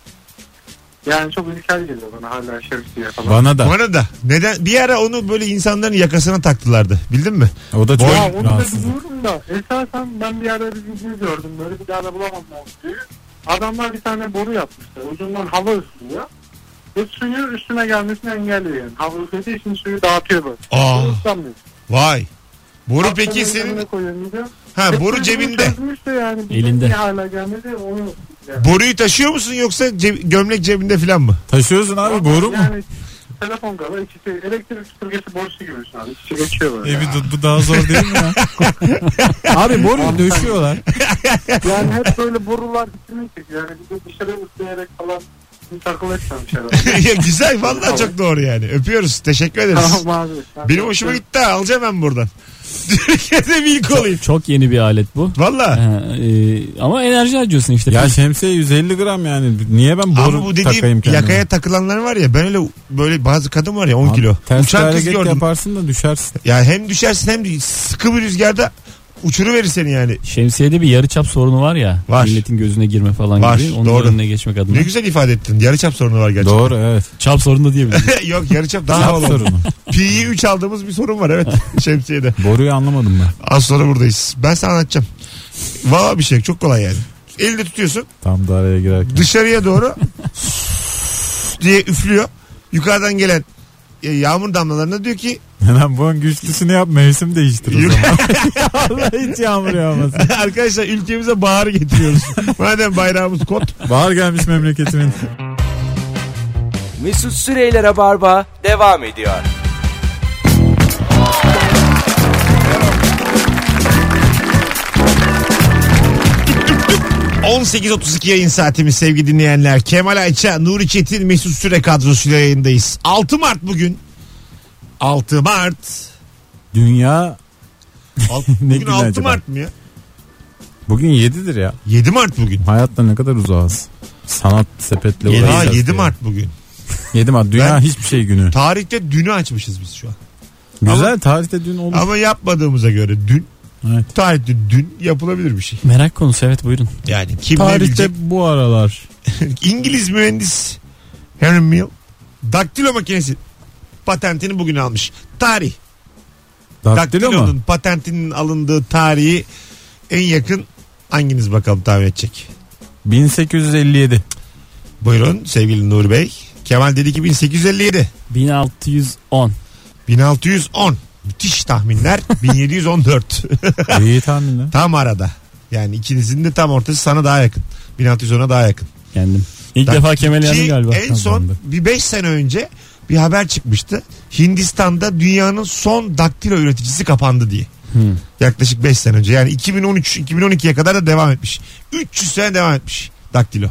Speaker 6: Yani çok ilkel geliyor bana hala şemsiye falan.
Speaker 3: Bana da.
Speaker 2: Bana da. Neden? Bir ara onu böyle insanların yakasına taktılardı. Bildin mi?
Speaker 3: O da
Speaker 6: Ya
Speaker 3: çok
Speaker 6: onu da
Speaker 3: rahatsız.
Speaker 6: biliyorum da esasen ben bir yerde bir video gördüm böyle bir daha da bulamam ben suyu. Adamlar bir tane boru yapmışlar ucundan hava üflüyor. Ve suyu üstüne gelmesini engelliyor yani. Hava üflediği için suyu dağıtıyor böyle.
Speaker 2: Aa.
Speaker 6: Su ıslanmıyor.
Speaker 2: Vay. Boru
Speaker 6: Hastanın
Speaker 2: peki
Speaker 6: önüne
Speaker 2: senin...
Speaker 6: koyuyor video.
Speaker 2: Ha boru
Speaker 6: Hepsi
Speaker 2: cebinde.
Speaker 6: çözmüş de yani. bizim
Speaker 4: Elinde.
Speaker 6: niye hala gelmedi onu. yani.
Speaker 2: Boruyu taşıyor musun yoksa ceb- gömlek cebinde falan mı?
Speaker 3: Taşıyorsun abi boru mu?
Speaker 6: Yani telefon kadar ikisi elektrik süpürgesi borusu gibi şu an. İkisi geçiyor böyle.
Speaker 3: E bir dur, bu daha zor değil mi ya? abi boruyu döşüyorlar.
Speaker 6: Yani hep böyle borular içine çekiyor. Yani bir de dışarı üfleyerek falan bir takıl etmemiş herhalde.
Speaker 2: ya güzel vallahi çok doğru yani. Öpüyoruz. Teşekkür ederiz.
Speaker 6: tamam abi. Yani
Speaker 2: Benim hoşuma gitti ha. Alacağım ben buradan. Türkiye'de bir ilk olayım.
Speaker 4: Çok yeni bir alet bu.
Speaker 2: Valla.
Speaker 4: Ha, e, ama enerji harcıyorsun işte.
Speaker 3: Ya şemsiye 150 gram yani. Niye ben boru
Speaker 2: Ama bu
Speaker 3: takayım
Speaker 2: dediğim
Speaker 3: kendime?
Speaker 2: yakaya takılanlar var ya ben öyle böyle bazı kadın var ya 10
Speaker 3: Abi
Speaker 2: kilo.
Speaker 3: Ters bir
Speaker 2: Uçan kız
Speaker 3: hareket
Speaker 2: gördüm.
Speaker 3: yaparsın da düşersin.
Speaker 2: Ya hem düşersin hem de sıkı bir rüzgarda uçuruverir seni yani.
Speaker 4: Şemsiyede bir yarıçap sorunu var ya.
Speaker 2: Var.
Speaker 4: Milletin gözüne girme falan
Speaker 2: Var,
Speaker 4: gibi. Onun
Speaker 2: doğru.
Speaker 4: önüne geçmek adına.
Speaker 2: Ne güzel ifade ettin. Yarıçap sorunu var gerçekten.
Speaker 3: Doğru evet.
Speaker 4: Çap sorunu da diyebilirim.
Speaker 2: Yok yarıçap daha
Speaker 3: Çap
Speaker 2: havalı.
Speaker 3: sorunu.
Speaker 2: Pi'yi 3 aldığımız bir sorun var evet şemsiyede.
Speaker 3: Boruyu anlamadım ben.
Speaker 2: Az sonra buradayız. Ben sana anlatacağım. Valla bir şey çok kolay yani. Elinde tutuyorsun
Speaker 3: Tam da araya girerken.
Speaker 2: dışarıya doğru diye üflüyor. Yukarıdan gelen e, yağmur damlalarına diyor ki
Speaker 3: Hemen bunun güçlüsünü yap mevsim değiştir o
Speaker 2: Yok.
Speaker 3: zaman. Vallahi hiç yağmur yağmasın.
Speaker 2: arkadaşlar ülkemize bahar getiriyoruz. Madem bayrağımız kot.
Speaker 3: Bahar gelmiş memleketimin.
Speaker 1: Mesut Süreyler'e barba devam ediyor.
Speaker 2: Tüp. 18.32 yayın saatimiz sevgili dinleyenler. Kemal Ayça, Nuri Çetin, Mesut Süre kadrosuyla yayındayız. 6 Mart bugün. 6 Mart.
Speaker 3: Dünya
Speaker 2: Alt-
Speaker 3: Ne
Speaker 2: bugün
Speaker 3: günü
Speaker 2: 6
Speaker 3: acaba?
Speaker 2: Mart mı ya?
Speaker 3: bugün 7'dir ya.
Speaker 2: 7 Mart bugün.
Speaker 3: Hayatta ne kadar uzağız. Sanat sepetle
Speaker 2: Yedi- Ha,
Speaker 3: uğraşacağız.
Speaker 2: 7
Speaker 3: diye.
Speaker 2: Mart bugün.
Speaker 3: 7 Mart. Dünya
Speaker 2: Ben-
Speaker 3: hiçbir şey günü.
Speaker 2: Tarihte dünü açmışız biz şu an.
Speaker 3: Güzel tarihte dün olur.
Speaker 2: Ama yapmadığımıza göre dün
Speaker 3: Evet.
Speaker 2: tarihte dün yapılabilir bir şey.
Speaker 4: Merak konusu evet buyurun.
Speaker 2: Yani kim ne bilecek?
Speaker 3: Tarihte bu aralar.
Speaker 2: İngiliz mühendis Henry Mill daktilo makinesi patentini bugün almış. Tarih.
Speaker 3: Daktilo mu?
Speaker 2: Daktilonun patentinin alındığı tarihi en yakın hanginiz bakalım tahmin edecek?
Speaker 3: 1857.
Speaker 2: Buyurun sevgili Nur Bey. Kemal dedi ki 1857.
Speaker 4: 1610.
Speaker 2: 1610. Müthiş tahminler. 1714.
Speaker 3: İyi tahmin lan.
Speaker 2: tam arada. Yani ikinizin de tam ortası sana daha yakın. 1610'a daha yakın.
Speaker 4: Kendim. İlk
Speaker 2: Dak-
Speaker 4: defa Kemal
Speaker 2: Ki
Speaker 4: Yandı galiba.
Speaker 2: en son
Speaker 3: kazandı.
Speaker 2: bir 5 sene önce bir haber çıkmıştı. Hindistan'da dünyanın son daktilo üreticisi kapandı diye.
Speaker 4: Hmm.
Speaker 2: Yaklaşık 5 sene önce. Yani 2013-2012'ye kadar da devam etmiş. 300 sene devam etmiş daktilo.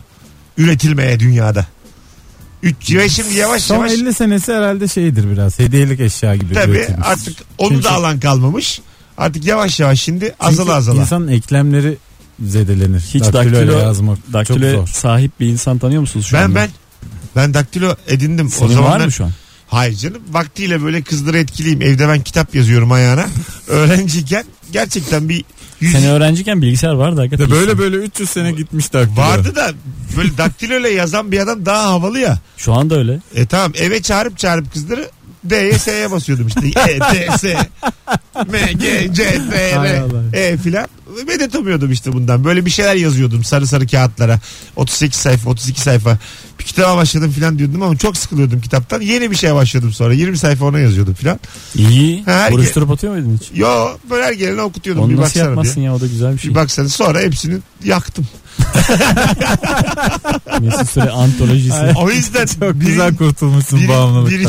Speaker 2: Üretilmeye dünyada. 3 ve şimdi yavaş
Speaker 3: Son
Speaker 2: yavaş
Speaker 3: 50 senesi herhalde şeydir biraz. Hediyelik eşya gibi.
Speaker 2: tabii
Speaker 3: üretilmiş.
Speaker 2: artık onu
Speaker 3: Çünkü-
Speaker 2: da alan kalmamış. Artık yavaş yavaş şimdi
Speaker 3: Çünkü
Speaker 2: azala azala.
Speaker 3: İnsanın eklemleri zedelenir.
Speaker 4: Hiç
Speaker 3: daktiloyla
Speaker 4: daktilo-
Speaker 3: yazmak
Speaker 4: Daktilo
Speaker 3: çok zor.
Speaker 4: sahip bir insan tanıyor musunuz şu
Speaker 2: Ben
Speaker 4: anda?
Speaker 2: ben ben daktilo edindim.
Speaker 4: Senin
Speaker 2: o zamanlar
Speaker 4: var mı şu an?
Speaker 2: Hayır canım vaktiyle böyle kızları etkileyim. Evde ben kitap yazıyorum ayağına. Öğrenciyken gerçekten bir yüz...
Speaker 4: Sen öğrenciyken bilgisayar vardı hakikaten.
Speaker 3: Böyle böyle 300 sene gitmiş daktilo.
Speaker 2: vardı da böyle daktiloyla yazan bir adam daha havalı ya.
Speaker 4: Şu anda öyle.
Speaker 2: E tamam eve çağırıp çağırıp kızları D'ye S'ye basıyordum işte. E, T, S, M, G, C, T,
Speaker 3: Hay
Speaker 2: R,
Speaker 3: Allah.
Speaker 2: E filan. Medet umuyordum işte bundan. Böyle bir şeyler yazıyordum sarı sarı kağıtlara. 38 sayfa, 32 sayfa. Bir kitaba başladım filan diyordum ama çok sıkılıyordum kitaptan. Yeni bir şeye başladım sonra. 20 sayfa ona yazıyordum filan.
Speaker 4: İyi.
Speaker 2: Ha,
Speaker 4: Buruşturup atıyor muydun hiç?
Speaker 2: Yo böyle her gelene okutuyordum.
Speaker 4: Onu
Speaker 2: bir
Speaker 4: nasıl
Speaker 2: baksana diye.
Speaker 4: yapmazsın ya o da güzel bir şey.
Speaker 2: Bir baksana sonra hepsini yaktım.
Speaker 4: Mesut Süre antolojisi.
Speaker 2: O yüzden
Speaker 3: Çok
Speaker 2: bir-
Speaker 3: güzel kurtulmuşsun
Speaker 2: bir-
Speaker 3: bağımlılıktan.
Speaker 2: bir-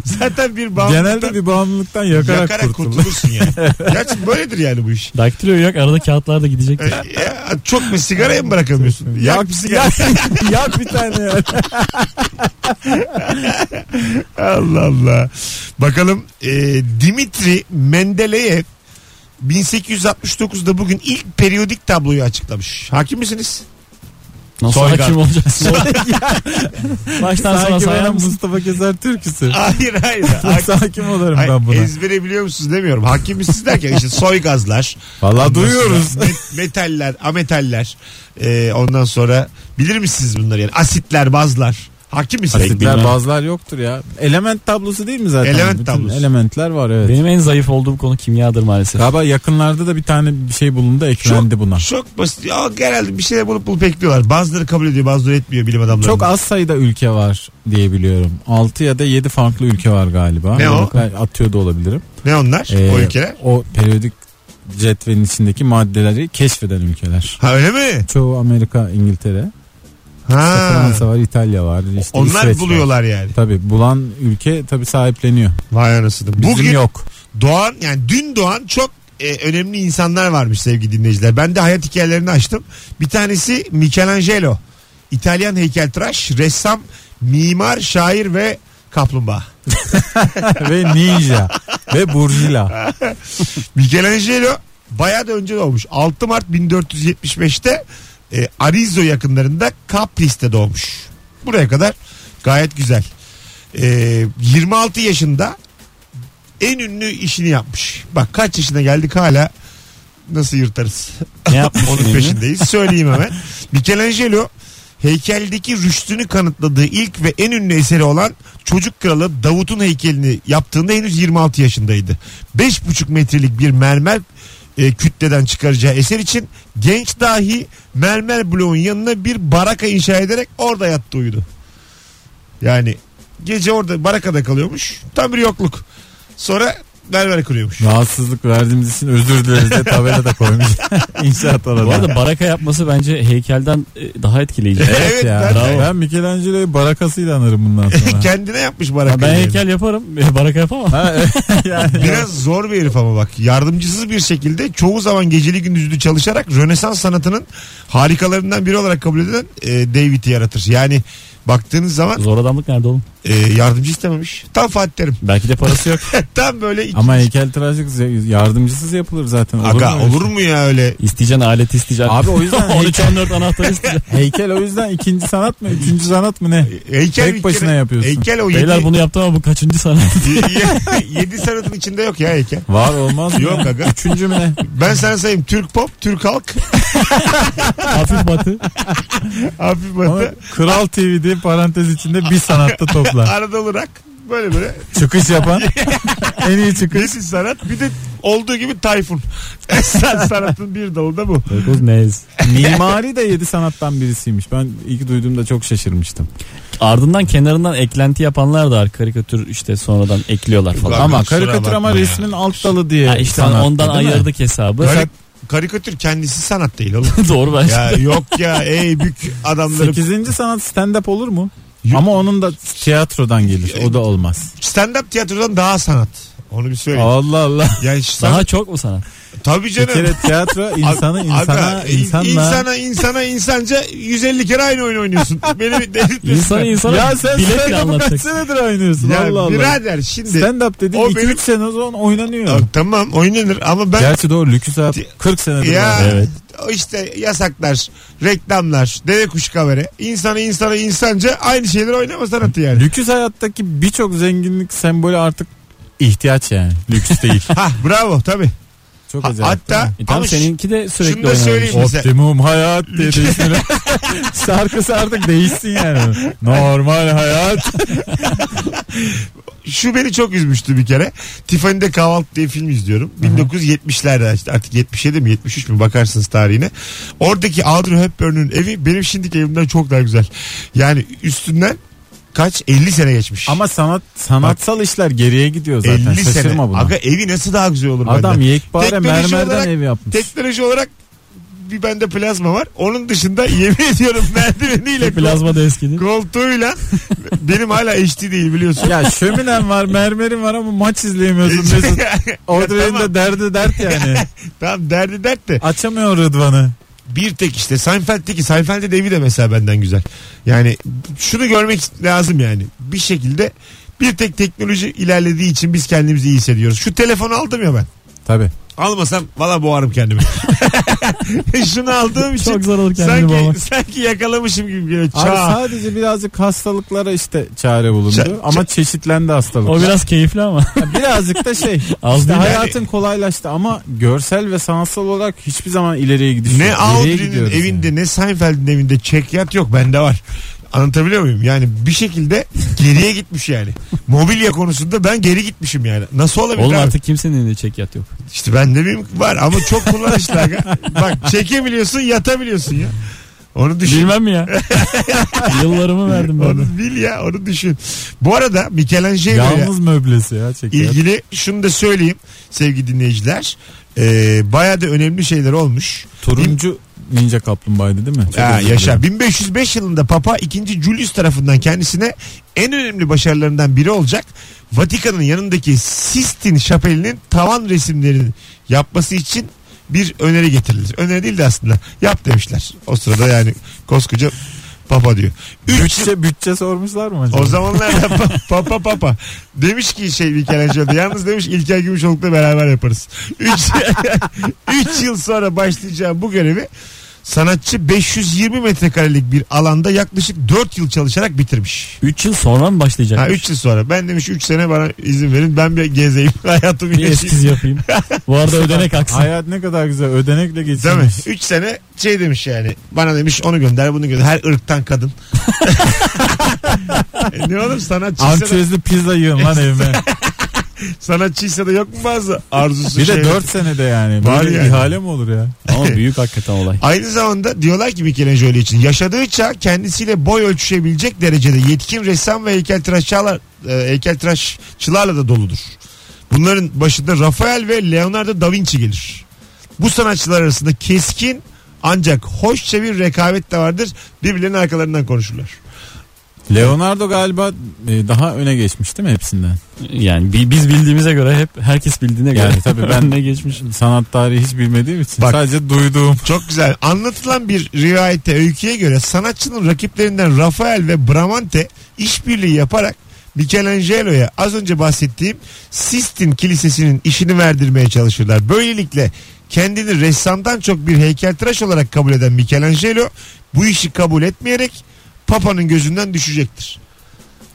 Speaker 2: zaten bir bağımlılıktan
Speaker 3: Genelde bir bağımlılıktan yakarak,
Speaker 2: yakarak
Speaker 3: yakarak kurtulur.
Speaker 2: kurtulursun yani. Gerçi böyledir yani bu iş.
Speaker 4: Daktilo yok arada kağıtlar da gidecek.
Speaker 2: E, ya, çok mu sigarayı mı bırakamıyorsun? Yak bir sigara.
Speaker 3: Yak bir tane ya.
Speaker 2: Allah Allah. Bakalım e, Dimitri Mendeleyev 1869'da bugün ilk periyodik tabloyu açıklamış. Hakim misiniz?
Speaker 4: Nasıl
Speaker 2: Soygar.
Speaker 4: hakim olacaksın? Baştan sona
Speaker 3: Sanki
Speaker 4: sayar
Speaker 3: bana
Speaker 4: mısın?
Speaker 3: Mustafa Keser türküsü.
Speaker 2: Hayır hayır. Hakim-
Speaker 3: Sakin olurum
Speaker 2: Hayır,
Speaker 3: ben buna.
Speaker 2: ezbere biliyor musunuz demiyorum. Hakim misiniz derken işte soy gazlar,
Speaker 3: Valla
Speaker 2: Ondan
Speaker 3: duyuyoruz.
Speaker 2: sonra met- metaller, ametaller. Ee, ondan sonra bilir misiniz bunları yani? Asitler, bazlar. Hakim misiniz?
Speaker 3: Asitler
Speaker 4: bilmem.
Speaker 3: bazılar yoktur ya. Element tablosu değil mi zaten?
Speaker 2: Element
Speaker 3: Bütün
Speaker 2: tablosu.
Speaker 3: Elementler var evet.
Speaker 4: Benim en zayıf olduğum konu kimyadır maalesef.
Speaker 3: Galiba yakınlarda da bir tane bir şey bulundu eklendi buna.
Speaker 2: Çok basit. Ya, genelde bir şeyler bulup bulup ekliyorlar. Bazıları kabul ediyor bazıları etmiyor bilim adamları.
Speaker 3: Çok az sayıda ülke var diye biliyorum. 6 ya da 7 farklı ülke var galiba.
Speaker 2: Ne o?
Speaker 3: Ben Atıyor da olabilirim.
Speaker 2: Ne onlar
Speaker 3: Ee,
Speaker 2: o ülkeler?
Speaker 3: O periyodik cetvelin içindeki maddeleri keşfeden ülkeler.
Speaker 2: Ha öyle mi?
Speaker 3: Çoğu Amerika, İngiltere,
Speaker 2: Ha.
Speaker 3: Fransa var, İtalya var. Işte İsveç
Speaker 2: Onlar
Speaker 3: var.
Speaker 2: buluyorlar yani.
Speaker 3: Tabii bulan ülke tabii sahipleniyor.
Speaker 2: Vay anasını.
Speaker 3: Bizim
Speaker 2: Bugün
Speaker 3: yok.
Speaker 2: doğan yani dün doğan çok e, önemli insanlar varmış sevgili dinleyiciler. Ben de hayat hikayelerini açtım. Bir tanesi Michelangelo. İtalyan heykeltıraş, ressam, mimar, şair ve kaplumbağa.
Speaker 3: ve ninja ve burjula.
Speaker 2: Michelangelo bayağı da önce doğmuş. 6 Mart 1475'te e, Arezzo yakınlarında Capri'ste doğmuş. Buraya kadar gayet güzel. E, 26 yaşında en ünlü işini yapmış. Bak kaç yaşına geldik hala nasıl yırtarız?
Speaker 4: Ne yapmış
Speaker 2: Onun
Speaker 4: yani?
Speaker 2: peşindeyiz. Söyleyeyim hemen. Michelangelo heykeldeki rüştünü kanıtladığı ilk ve en ünlü eseri olan Çocuk Kralı Davut'un heykelini yaptığında henüz 26 yaşındaydı. 5,5 metrelik bir mermer e, kütleden çıkaracağı eser için genç dahi mermer bloğun yanına bir baraka inşa ederek orada yattı uyudu. Yani gece orada barakada kalıyormuş. Tam bir yokluk. Sonra mermer kuruyormuş.
Speaker 3: Rahatsızlık verdiğimiz için özür dileriz diye tabela da koymuş. İnşaat alanı.
Speaker 4: Bu arada baraka yapması bence heykelden e, daha etkileyici.
Speaker 2: Evet, ben-
Speaker 4: bravo.
Speaker 3: Ben Michelangelo'yu barakasıyla anırım bundan sonra.
Speaker 2: Kendine yapmış
Speaker 4: Ha,
Speaker 2: barakayı.
Speaker 4: ben
Speaker 2: yani.
Speaker 4: heykel yaparım. e, Baraka yapamam.
Speaker 3: Ha, evet, yani.
Speaker 2: Biraz zor bir herif ama bak. Yardımcısız bir şekilde çoğu zaman geceli gündüzlü çalışarak Rönesans sanatının harikalarından biri olarak kabul edilen e, David'i yaratır. Yani baktığınız zaman
Speaker 4: Zor adamlık nerede oğlum?
Speaker 2: e, yardımcı istememiş. Tam Fatih Terim.
Speaker 4: Belki de parası yok.
Speaker 2: Tam böyle iki...
Speaker 3: Ama heykel trajik şey, yardımcısız yapılır zaten. Olur
Speaker 2: Aga
Speaker 3: mu? şey?
Speaker 2: olur mu ya öyle?
Speaker 4: İsteyeceksin alet isteyeceksin.
Speaker 3: Abi o yüzden
Speaker 4: 13 14 anahtar isteyeceksin.
Speaker 3: Heykel o yüzden ikinci sanat mı? Üçüncü sanat mı ne?
Speaker 2: Heykel
Speaker 3: Tek
Speaker 2: bir
Speaker 3: başına
Speaker 2: kere-
Speaker 3: yapıyorsun.
Speaker 2: Heykel o
Speaker 4: Beyler
Speaker 2: yedi,
Speaker 4: bunu yaptı ama bu kaçıncı sana?
Speaker 2: yedi sanatın içinde yok ya heykel.
Speaker 3: Var olmaz mı?
Speaker 2: Yok
Speaker 3: ya?
Speaker 2: aga.
Speaker 3: Üçüncü mü ne?
Speaker 2: Ben sana sayayım Türk pop, Türk halk,
Speaker 4: Hafif batı.
Speaker 2: hafif
Speaker 3: Ama
Speaker 2: batı,
Speaker 3: Kral TV diye parantez içinde bir sanatta topla.
Speaker 2: Anadolu rock. Böyle böyle.
Speaker 3: Çıkış yapan en iyi çıkış.
Speaker 2: Nesil sanat. Bir de olduğu gibi Tayfun. Sen sanatın bir dalı da bu.
Speaker 4: Dokuz nez.
Speaker 3: Mimari de yedi sanattan birisiymiş. Ben ilk duyduğumda çok şaşırmıştım.
Speaker 4: Ardından kenarından eklenti yapanlar da var. Karikatür işte sonradan ekliyorlar falan.
Speaker 2: Ulan.
Speaker 4: Ama
Speaker 3: ama
Speaker 2: kusura
Speaker 3: karikatür ama
Speaker 2: bakma ya.
Speaker 3: resmin alt dalı diye.
Speaker 4: ya işte
Speaker 3: sanatta,
Speaker 4: ondan
Speaker 3: e, değil mi?
Speaker 4: ayırdık hesabı.
Speaker 2: Kari- karikatür kendisi sanat değil oğlum.
Speaker 4: Doğru bence.
Speaker 2: Ya yok ya ey bük adamları.
Speaker 3: Sekizinci sanat stand up olur mu?
Speaker 2: Yok.
Speaker 3: Ama onun da tiyatrodan gelir. O da olmaz.
Speaker 2: Stand up tiyatrodan daha sanat. Onu bir söyleyeyim.
Speaker 3: Allah Allah.
Speaker 2: Yani
Speaker 4: Daha
Speaker 2: sanat,
Speaker 4: çok mu sana?
Speaker 2: tabii
Speaker 3: Bir
Speaker 2: canım.
Speaker 3: kere tiyatro insanı
Speaker 2: Abi,
Speaker 3: insana
Speaker 2: abi,
Speaker 3: insanla.
Speaker 2: insana insana insanca 150 kere aynı oyun oynuyorsun. Beni bir delirtme.
Speaker 4: İnsanı insana
Speaker 3: ya sen
Speaker 4: biletle
Speaker 3: stand up'ı kaç
Speaker 4: anlatacaksın.
Speaker 3: senedir oynuyorsun?
Speaker 2: Ya
Speaker 3: Allah Allah.
Speaker 2: birader şimdi.
Speaker 3: Stand up dediğin
Speaker 2: O
Speaker 3: 2-3
Speaker 2: benim-
Speaker 3: sene o zaman oynanıyor.
Speaker 2: Ya, tamam oynanır ama ben
Speaker 3: Gerçi doğru lüküs abi 40 senedir
Speaker 2: Ya
Speaker 3: var. Evet.
Speaker 2: işte yasaklar, reklamlar, deve kuşu kavere. İnsanı insana insanca aynı şeyleri oynama sanatı yani.
Speaker 3: Lüküs hayattaki birçok zenginlik sembolü artık ihtiyaç yani. Lüks değil.
Speaker 2: Ha bravo tabi.
Speaker 3: Çok
Speaker 2: Ha,
Speaker 3: acayip. değil
Speaker 2: hatta
Speaker 3: mi?
Speaker 4: E
Speaker 2: ama
Speaker 4: tamam seninki de
Speaker 2: şunu
Speaker 4: sürekli
Speaker 2: da
Speaker 4: oynamış.
Speaker 2: söyleyeyim mesela.
Speaker 3: Optimum hayat diye değiştirin. Şarkısı artık değişsin yani. Normal hayat.
Speaker 2: Şu beni çok üzmüştü bir kere. Tiffany'de Kahvaltı diye film izliyorum. 1970'lerde işte artık 77 mi 73 mi bakarsınız tarihine. Oradaki Audrey Hepburn'un evi benim şimdiki evimden çok daha güzel. Yani üstünden kaç 50 sene geçmiş.
Speaker 3: Ama sanat sanatsal işler geriye gidiyor zaten.
Speaker 2: 50
Speaker 3: Şaşırma
Speaker 2: sene.
Speaker 3: buna.
Speaker 2: Aga evi nasıl daha güzel olur
Speaker 3: Adam
Speaker 2: benden?
Speaker 3: yekpare
Speaker 2: Teknoloji
Speaker 3: mermerden
Speaker 2: olarak-
Speaker 3: ev yapmış.
Speaker 2: Teknoloji olarak bir bende plazma var. Onun dışında yemin ediyorum merdiveniyle
Speaker 4: Plazma da eskidi.
Speaker 2: koltuğuyla benim hala HD değil biliyorsun.
Speaker 3: Ya şöminen var, mermerin var ama maç izleyemiyorsun Mesut. Audrey'in
Speaker 2: tamam.
Speaker 3: de derdi dert yani.
Speaker 2: tamam derdi dert de.
Speaker 3: Açamıyor Rıdvan'ı.
Speaker 2: Bir tek işte Seinfeld'deki Seinfeld'de de evi de mesela benden güzel. Yani şunu görmek lazım yani. Bir şekilde bir tek teknoloji ilerlediği için biz kendimizi iyi hissediyoruz. Şu telefonu aldım ya ben.
Speaker 3: Tabii.
Speaker 2: Almasam valla boğarım kendimi. şunu aldığım için
Speaker 4: Çok zor olur kendini boğmak.
Speaker 2: sanki, sanki yakalamışım gibi geliyor.
Speaker 3: Abi
Speaker 2: Çağ.
Speaker 3: sadece birazcık hastalıklara işte çare bulundu.
Speaker 2: Ça-
Speaker 3: ama çeşitlendi hastalık.
Speaker 4: O biraz keyifli ama.
Speaker 3: birazcık da şey.
Speaker 4: Az
Speaker 3: işte
Speaker 4: değil.
Speaker 3: hayatın kolaylaştı ama görsel ve sanatsal olarak hiçbir zaman ileriye gidiş yok.
Speaker 2: Ne
Speaker 3: İleriye
Speaker 2: Audrey'nin
Speaker 3: gidiyoruz
Speaker 2: evinde
Speaker 3: yani.
Speaker 2: ne Seinfeld'in evinde çekyat yok bende var. Anlatabiliyor muyum? Yani bir şekilde geriye gitmiş yani. Mobilya konusunda ben geri gitmişim yani. Nasıl olabilir
Speaker 4: Oğlum
Speaker 2: abi?
Speaker 4: artık kimsenin elinde çekyat yok.
Speaker 2: İşte ben de bilmiyorum. Var ama çok kullanışlı. aga. Bak çekebiliyorsun yatabiliyorsun ya. Onu düşün.
Speaker 4: Bilmem mi ya? Yıllarımı verdim ben de.
Speaker 2: Onu bil ya onu düşün. Bu arada Michelangelo'ya
Speaker 3: Yalnız möblesi ya çekiyor.
Speaker 2: ilgili şunu da söyleyeyim sevgili dinleyiciler. Ee, bayağı da önemli şeyler olmuş.
Speaker 3: Turuncu ninja kaplumbağaydı değil mi? Çok
Speaker 2: Ha,
Speaker 3: özür dilerim.
Speaker 2: yaşa. 1505 yılında Papa 2. Julius tarafından kendisine en önemli başarılarından biri olacak. Vatikan'ın yanındaki Sistin Şapeli'nin tavan resimlerini yapması için bir öneri getirilir. Öneri değil de aslında yap demişler. O sırada yani koskoca Papa diyor. Üç yıl-
Speaker 3: Bütçe, bütçe sormuşlar mı acaba?
Speaker 2: o zamanlarda pa- papa papa demiş ki şey Michelangelo'da yalnız demiş İlker Gümüşoluk'la beraber yaparız. 3 yıl sonra başlayacağım bu görevi Sanatçı 520 metrekarelik bir alanda yaklaşık 4 yıl çalışarak bitirmiş.
Speaker 4: 3 yıl sonra mı başlayacak?
Speaker 2: Ha 3 yıl sonra. Ben demiş 3 sene bana izin verin ben bir gezeyim hayatımı
Speaker 4: bir
Speaker 2: yaşayayım.
Speaker 4: eskiz yapayım. Bu arada ödenek aksın.
Speaker 3: Hayat ne kadar güzel ödenekle
Speaker 2: şey Değil mi?
Speaker 3: geçirmiş.
Speaker 2: 3 sene şey demiş yani bana demiş onu gönder bunu gönder her ırktan kadın. E ne oğlum sanatçıysa da,
Speaker 3: Arçözlü pizza yiyorum lan evime.
Speaker 2: sanatçıysa da yok mu bazı arzusu
Speaker 3: Bir de
Speaker 2: şey-
Speaker 3: 4 senede yani.
Speaker 2: Var
Speaker 3: Böyle
Speaker 2: yani.
Speaker 3: ihale mi olur ya?
Speaker 4: Ama büyük hakikaten olay.
Speaker 2: Aynı zamanda diyorlar ki Michelangelo için yaşadığı çağ kendisiyle boy ölçüşebilecek derecede yetkin ressam ve heykeltıraşçılar e, heykeltıraşçılarla da doludur. Bunların başında Rafael ve Leonardo da Vinci gelir. Bu sanatçılar arasında keskin ancak hoşça bir rekabet de vardır. Birbirlerinin arkalarından konuşurlar.
Speaker 3: Leonardo galiba e, daha öne geçmiş değil mi hepsinden?
Speaker 4: Yani bi- biz bildiğimize göre hep herkes bildiğine göre.
Speaker 3: Yani tabii ben-
Speaker 4: ne geçmiş.
Speaker 3: Sanat tarihi hiç bilmediğim için
Speaker 2: Bak.
Speaker 3: sadece duyduğum.
Speaker 2: Çok güzel. Anlatılan bir rivayete, öyküye göre sanatçının rakiplerinden Rafael ve Bramante işbirliği yaparak Michelangelo'ya az önce bahsettiğim Sistine Kilisesi'nin işini verdirmeye çalışırlar. Böylelikle kendini ressamdan çok bir heykeltıraş olarak kabul eden Michelangelo bu işi kabul etmeyerek Papa'nın gözünden düşecektir.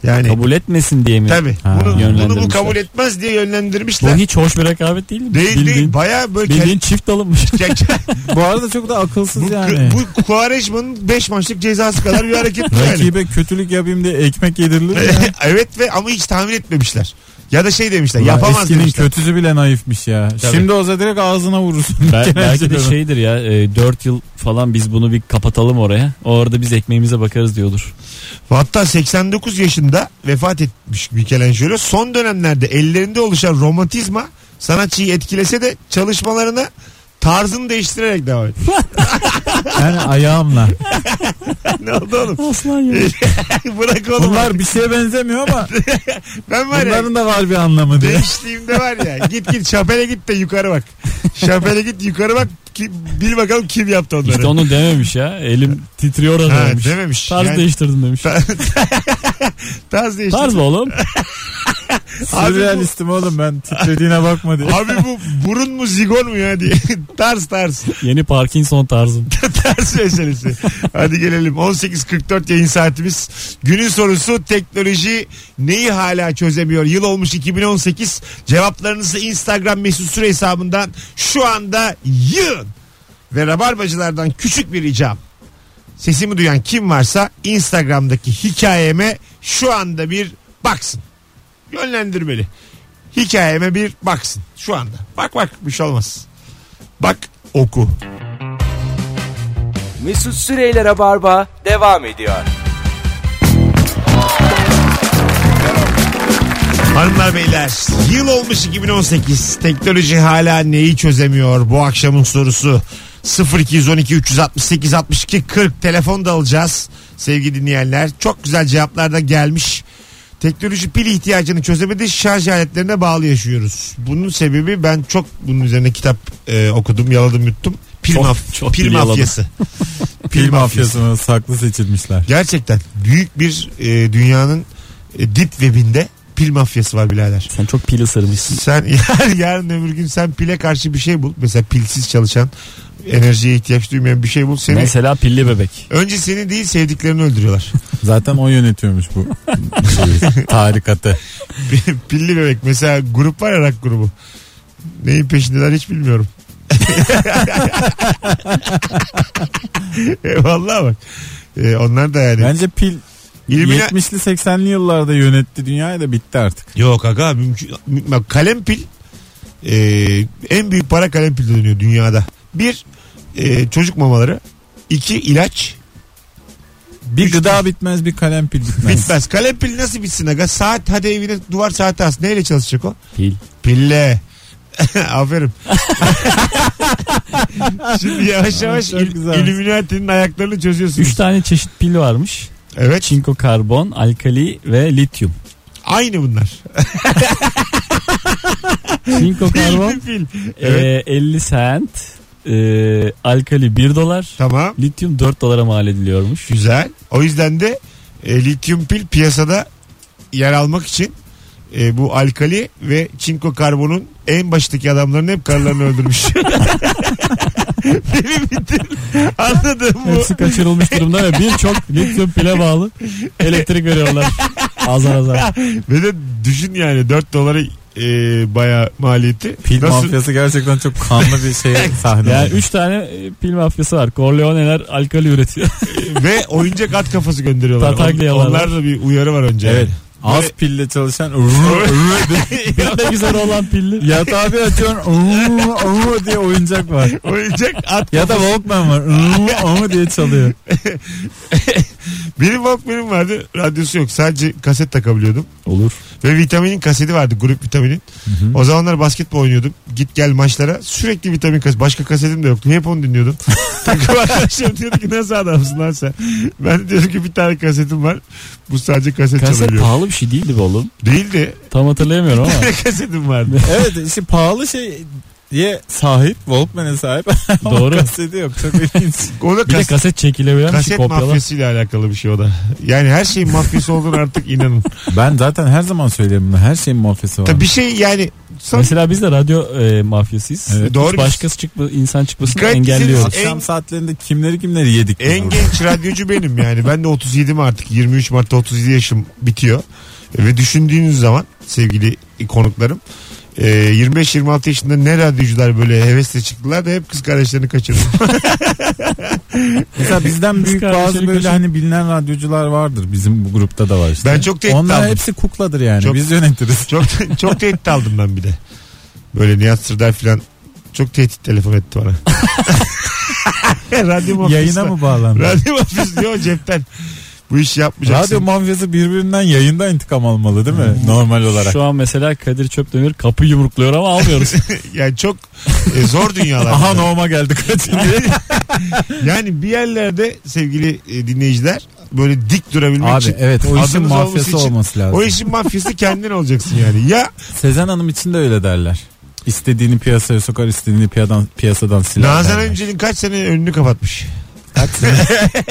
Speaker 2: Yani
Speaker 4: Kabul etmesin diye mi?
Speaker 2: E, tabii
Speaker 3: Ha,
Speaker 2: bunu, bunu bu
Speaker 4: yönlendirmişler.
Speaker 2: kabul etmez diye
Speaker 4: Bu
Speaker 2: yönlendirmişler.
Speaker 4: hiç hoş bir rekabet değil mi?
Speaker 2: Değil
Speaker 4: bildiğin,
Speaker 2: değil bayağı böyle
Speaker 4: bildiğin çift alınmış.
Speaker 2: kendi-
Speaker 3: Bu arada çok da akılsız
Speaker 2: Bu,
Speaker 3: yani.
Speaker 2: bu Quaresma'nın 5 maçlık cezası kadar bir hareket bu yani.
Speaker 3: Rakibe kötülük yapayım diye ekmek yedirilir mi? ya.
Speaker 2: evet ve ama hiç tahmin etmemişler. Ya da şey demişler
Speaker 3: Ya
Speaker 2: yapamaz
Speaker 3: Eskinin
Speaker 2: demişler.
Speaker 3: kötüsü bile naifmiş ya.
Speaker 2: Tabii.
Speaker 3: Şimdi olsa direkt ağzına vurursun.
Speaker 4: Bel- belki de
Speaker 3: Michelangelo.
Speaker 4: şeydir ya 4 yıl falan biz bunu bir kapatalım oraya. Orada biz ekmeğimize bakarız diyordur.
Speaker 2: Hatta 89 yaşında vefat etmiş Michelangelo. Son dönemlerde ellerinde oluşan romantizma sanatçıyı etkilese de çalışmalarına tarzını değiştirerek devam etti.
Speaker 3: Yani ayağımla.
Speaker 2: ne oldu oğlum?
Speaker 4: Aslan ya.
Speaker 2: Bırak oğlum.
Speaker 3: Bunlar bir şeye benzemiyor ama
Speaker 2: ben var ya
Speaker 3: bunların da var bir anlamı diye.
Speaker 2: değiştiğimde var ya git git şapele git de yukarı bak. Şapele git yukarı bak. Kim, bil bakalım kim yaptı onları.
Speaker 4: İşte onu dememiş ya. Elim titriyor orada
Speaker 2: ha,
Speaker 4: demiş.
Speaker 2: dememiş.
Speaker 4: Tarz
Speaker 2: Yani-
Speaker 4: değiştirdim demiş.
Speaker 2: Tarz değişti.
Speaker 4: Tarz mı oğlum?
Speaker 2: Abi bu-
Speaker 3: Sürrealistim oğlum ben titrediğine bakma diye.
Speaker 2: Abi bu burun mu zigon mu ya diye. tarz tarz.
Speaker 4: Yeni Parkinson tarzım.
Speaker 2: tarz meselesi. Hadi gelelim. 18.44 yayın saatimiz. Günün sorusu teknoloji neyi hala çözemiyor? Yıl olmuş 2018. Cevaplarınızı Instagram mesut süre hesabından şu anda yığın. Ve rabarbacılardan küçük bir ricam. Sesimi duyan kim varsa Instagram'daki hikayeme şu anda bir baksın. Yönlendirmeli. Hikayeme bir baksın şu anda. Bak bak bir şey olmaz. Bak oku.
Speaker 1: Mesut Süreyler'e barba devam ediyor.
Speaker 2: Hanımlar beyler yıl olmuş 2018 teknoloji hala neyi çözemiyor bu akşamın sorusu 0212 368 62 40 telefon da alacağız sevgili dinleyenler çok güzel cevaplar da gelmiş teknoloji pil ihtiyacını çözemedi şarj aletlerine bağlı yaşıyoruz bunun sebebi ben çok bunun üzerine kitap e, okudum yaladım yuttum pil,
Speaker 4: Çok-
Speaker 2: maf-
Speaker 4: çok
Speaker 2: pil
Speaker 4: pil yaladım.
Speaker 2: mafyası
Speaker 3: Pil mafyasına saklı seçilmişler.
Speaker 2: gerçekten büyük bir e, dünyanın e, dip webinde pil mafyası var birader
Speaker 4: Sen çok pil ısırmışsın.
Speaker 2: sen yar, yarın öbür gün sen pile karşı bir şey bul. Mesela pilsiz çalışan, enerjiye ihtiyaç duymayan bir şey bul. Seni
Speaker 4: Mesela pilli bebek.
Speaker 2: önce seni değil sevdiklerini öldürüyorlar.
Speaker 3: Zaten o yönetiyormuş bu şeyi, Şey, tarikatı.
Speaker 2: Pilli bebek mesela grup var ya rock grubu. Neyin peşindeler hiç bilmiyorum. E, Vallahi bak. E, onlar da yani.
Speaker 3: Bence pil
Speaker 2: İlmina-
Speaker 3: 70'li 80'li yıllarda yönetti dünyayı da bitti artık.
Speaker 2: Yok aga mümkün. mü- bak kalem pil e, en büyük para kalem pil dönüyor dünyada. Bir e, çocuk mamaları. iki ilaç.
Speaker 3: Bir gıda bitmez bir kalem pil bitmez.
Speaker 2: Bitmez. Kalem pil nasıl bitsin aga? Saat hadi evine duvar saati as. Neyle çalışacak o?
Speaker 4: Pil.
Speaker 2: Pille. Aferin. Şimdi yavaş yavaş
Speaker 3: Çok
Speaker 2: il-
Speaker 3: güzelmiş.
Speaker 2: Illuminati'nin ayaklarını çözüyorsunuz.
Speaker 4: Üç tane çeşit pil varmış.
Speaker 2: Evet.
Speaker 4: Çinko karbon, alkali ve lityum.
Speaker 2: Aynı bunlar.
Speaker 4: Çinko
Speaker 2: Pil
Speaker 4: karbon
Speaker 2: pil.
Speaker 4: e, 50 cent. e, alkali 1 dolar.
Speaker 2: Tamam.
Speaker 4: Lityum 4 dolara mal ediliyormuş.
Speaker 2: Güzel. O yüzden de e, lityum pil piyasada yer almak için e, bu alkali ve çinko karbonun en baştaki adamların hep karılarını öldürmüş. Benim bütün anladığım bu.
Speaker 4: Hepsi kaçırılmış durumda ve birçok lityum pile bağlı elektrik veriyorlar. Azar azar.
Speaker 2: Ve de düşün yani 4 dolara e, bayağı maliyeti.
Speaker 3: Pil
Speaker 2: Nasıl-
Speaker 3: mafyası gerçekten çok kanlı bir şey sahne.
Speaker 4: Yani
Speaker 3: oldu.
Speaker 4: 3 tane e, pil mafyası var. Corleone'ler alkol üretiyor.
Speaker 2: Ve oyuncak at kafası gönderiyorlar. On,
Speaker 4: Tataklayalar.
Speaker 2: onlar da bir uyarı var önce.
Speaker 3: Evet. Az
Speaker 2: Böyle-
Speaker 3: pille çalışan rrr, rrr diye-
Speaker 4: Bir de güzel olan pilli.
Speaker 3: yatağı bir açıyorsun rrr, rrr diye oyuncak var.
Speaker 2: Oyuncak at
Speaker 3: Ya da Walkman var. rrr, rrr diye çalıyor.
Speaker 2: Benim Walkman'im vardı. Radyosu yok. Sadece kaset takabiliyordum.
Speaker 4: Olur.
Speaker 2: Ve vitaminin kaseti vardı. Grup vitaminin. O zamanlar basketbol oynuyordum. Git gel maçlara. Sürekli vitamin kaseti. Başka kasetim de yoktu. Hep onu dinliyordum. Takım arkadaşlarım diyordu ki nasıl adamsın lan sen. Ben de diyordum ki bir tane kasetim var. Bu sadece kaset,
Speaker 4: Kaset
Speaker 2: çalabiliyor.
Speaker 4: pahalı bir şey değildi be oğlum.
Speaker 2: Değildi.
Speaker 4: Tam hatırlayamıyorum ama.
Speaker 2: Ne kasetim vardı.
Speaker 3: Evet işte pahalı şey diye sahip Walkman'e sahip ama
Speaker 4: Doğru.
Speaker 3: kaseti yok çok ilginç.
Speaker 2: O da
Speaker 4: Bir de
Speaker 2: kaset,
Speaker 4: kaset çekilebilen bir şey
Speaker 2: kaset
Speaker 4: kopyalar.
Speaker 2: mafyasıyla alakalı bir şey o da. Yani her şeyin mafyası olduğunu artık inanın.
Speaker 3: Ben zaten her zaman söylerim bunu her şeyin mafyası var.
Speaker 2: Tabii bir şey yani son
Speaker 4: Mesela biz de radyo e, mafyasıyız.
Speaker 3: Evet.
Speaker 4: Hiç
Speaker 2: Doğru.
Speaker 4: Başkası çıkma, insan çıkmasını
Speaker 2: Dikkat
Speaker 4: engelliyoruz.
Speaker 2: etseniz-
Speaker 3: Akşam
Speaker 2: En-
Speaker 3: saatlerinde kimleri kimleri yedik. biz
Speaker 2: En
Speaker 3: orada.
Speaker 2: genç radyocu benim yani. Ben de 37'm artık. 23 Mart'ta 37 yaşım bitiyor. E, Ve düşündüğünüz zaman sevgili konuklarım e, 25-26 yaşında ne radyocular böyle hevesle çıktılar da hep kız kardeşlerini kaçırdı.
Speaker 3: Mesela bizden büyük
Speaker 4: Kardeşleri
Speaker 3: bazı böyle
Speaker 4: kaçın.
Speaker 3: hani bilinen radyocular vardır. Bizim bu grupta da var işte.
Speaker 2: Ben çok tehdit
Speaker 3: Onlar
Speaker 2: aldım.
Speaker 3: hepsi kukladır yani.
Speaker 2: Çok-
Speaker 3: Biz yönetiriz.
Speaker 2: çok çok tehdit aldım ben bir de. Böyle Nihat Sırdar filan çok tehdit telefon etti bana. radyo mafyası.
Speaker 3: Yayına mı bağlandı?
Speaker 2: Radyo mafyası diyor cepten. Bu işi yapmayacaksın.
Speaker 3: Radyo mafyası birbirinden yayında intikam almalı değil mi? Normal olarak.
Speaker 4: Hmm. Şu an mesela Kadir Çöpdemir kapı yumrukluyor ama almıyoruz.
Speaker 2: Yani çok e, zor dünyalar.
Speaker 3: Aha
Speaker 2: bunlar.
Speaker 3: norma geldi kaçın diye.
Speaker 2: Yani bir yerlerde sevgili e, dinleyiciler böyle dik durabilmek için
Speaker 3: Abi evet o işin
Speaker 2: adınız olması
Speaker 3: mafyası
Speaker 2: için-
Speaker 3: olması lazım.
Speaker 2: o işin mafyası kendin olacaksın yani. Ya
Speaker 3: Sezen Hanım için de öyle derler. İstediğini piyasaya sokar, istediğini piyadan, piyasadan siler.
Speaker 2: Nazan
Speaker 3: derler.
Speaker 2: Öncel'in kaç sene önünü kapatmış?
Speaker 3: Kaç sene?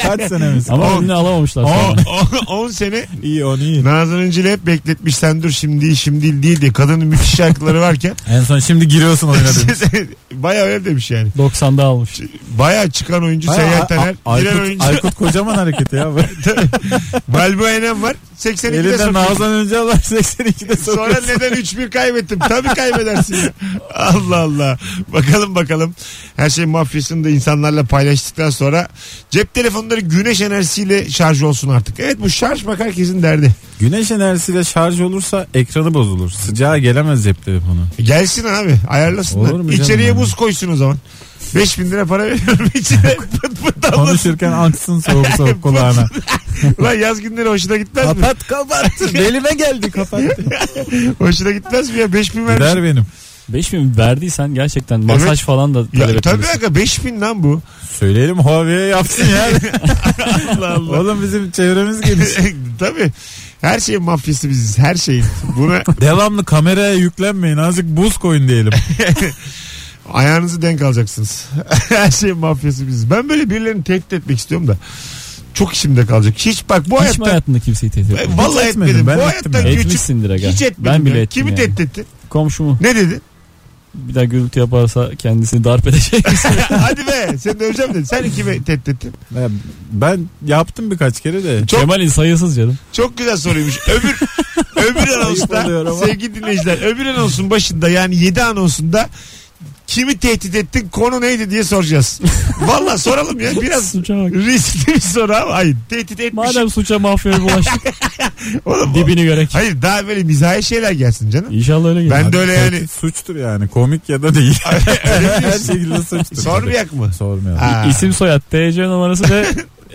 Speaker 3: Kaç sene mesela?
Speaker 4: ama
Speaker 2: On.
Speaker 4: önüne alamamışlar. sonra.
Speaker 2: 10 sene
Speaker 3: İyi on iyi.
Speaker 2: Nazan Öncel'i hep bekletmiş sen dur şimdi şimdi değil değil diye. Kadının müthiş şarkıları varken
Speaker 3: En son şimdi giriyorsun oyuna
Speaker 2: Şey
Speaker 3: demiş.
Speaker 2: baya öyle demiş yani.
Speaker 4: 90'da almış.
Speaker 2: Baya çıkan oyuncu Seyyar Taner.
Speaker 3: A- A-
Speaker 2: Giren
Speaker 3: Aykut,
Speaker 2: oyuncu
Speaker 3: Aykut kocaman hareketi ya.
Speaker 2: Balbo Enem var. 82'de
Speaker 3: Elinden
Speaker 2: sokuyor.
Speaker 3: Nazan Öncel'ler 82'de sokuyor.
Speaker 2: Sonra neden 3-1 kaybettim? Tabii kaybedersin. ya. Allah Allah. Bakalım bakalım. Her şey mafyasını da insanlarla paylaştıktan sonra cep telefonları güneş enerjisiyle şarj olsun artık. Evet bu şarj bak herkesin derdi.
Speaker 3: Güneş enerjisiyle şarj olursa ekranı bozulur. Sıcağa gelemez cep telefonu.
Speaker 2: E, Gelsin abi ayarlasınlar.
Speaker 3: Olur mu canım
Speaker 2: İçeriye
Speaker 3: yani?
Speaker 2: buz koysun o zaman. 5000 lira para veriyorum içine pıt pıt damlasın.
Speaker 3: Konuşurken aksın soğuk soğuk kulağına.
Speaker 2: Lan yaz günleri hoşuna gitmez mi?
Speaker 3: kapat kapat. Belime geldi kapat.
Speaker 2: Hoşuna gitmez mi ya? 5000 vermiş.
Speaker 3: Gider benim.
Speaker 4: 5 bin verdiysen gerçekten masaj
Speaker 2: Evet.
Speaker 4: falan da talep
Speaker 2: Ya, tabii
Speaker 4: etmelisin.
Speaker 2: kanka 5000 lan bu.
Speaker 3: Söyleyelim Huawei'ye yapsın ya.
Speaker 2: Allah Allah.
Speaker 3: Oğlum bizim çevremiz geniş.
Speaker 2: Tabii. Her şeyin mafyası biziz. Her şeyin. Buna
Speaker 3: Devamlı kameraya yüklenmeyin. Azıcık buz koyun diyelim.
Speaker 2: ayağınızı denk alacaksınız. Her şeyin mafyası biziz. Ben böyle birilerini tehdit etmek istiyorum da. Çok işimde kalacak. Hiç bak bu
Speaker 4: Hiç mi
Speaker 2: hayatta
Speaker 4: hayatında kimseyi tehdit
Speaker 2: E,
Speaker 4: etmedin?
Speaker 2: Vallahi
Speaker 3: etmedim,
Speaker 2: etmedim.
Speaker 3: ben
Speaker 2: bu
Speaker 3: ettim
Speaker 2: hayatta
Speaker 3: ya.
Speaker 2: küçük.
Speaker 4: Etmişsindir aga.
Speaker 2: Hiç etmedim.
Speaker 4: Ben bile
Speaker 2: ya.
Speaker 4: ettim
Speaker 2: Kimi
Speaker 4: yani.
Speaker 2: tehdit ettin?
Speaker 4: Komşumu
Speaker 2: Ne dedin?
Speaker 4: bir daha gürültü yaparsa kendisini darp edecek.
Speaker 2: Hadi be seni döveceğim dedin. Sen kimi tehdit ettin?
Speaker 3: Ben, ben yaptım birkaç kere de.
Speaker 2: Çok-
Speaker 4: Kemal'in sayısız canım.
Speaker 2: Çok güzel soruymuş. Öbür öbür
Speaker 3: oluyor
Speaker 2: anonsta
Speaker 3: ama.
Speaker 2: sevgili dinleyiciler öbür anonsun başında yani 7 anonsunda kimi tehdit ettin konu neydi diye soracağız. Valla soralım ya biraz
Speaker 4: Suça bak.
Speaker 2: riskli bir soru ama hayır tehdit etmiş.
Speaker 4: Madem suça mafyaya bulaştık
Speaker 2: Oğlum, o-
Speaker 4: dibini görek.
Speaker 2: Hayır daha böyle mizahi şeyler gelsin canım.
Speaker 4: İnşallah öyle gelir.
Speaker 2: Ben de öyle yani
Speaker 3: Tehdit Suçtur yani. Komik ya da değil.
Speaker 2: öyle
Speaker 3: Her şey-
Speaker 2: diyorsun.
Speaker 3: şekilde suçtur.
Speaker 2: sormayak mı?
Speaker 3: Sormuyorum.
Speaker 2: Ha.
Speaker 4: İsim soyad, TC numarası ve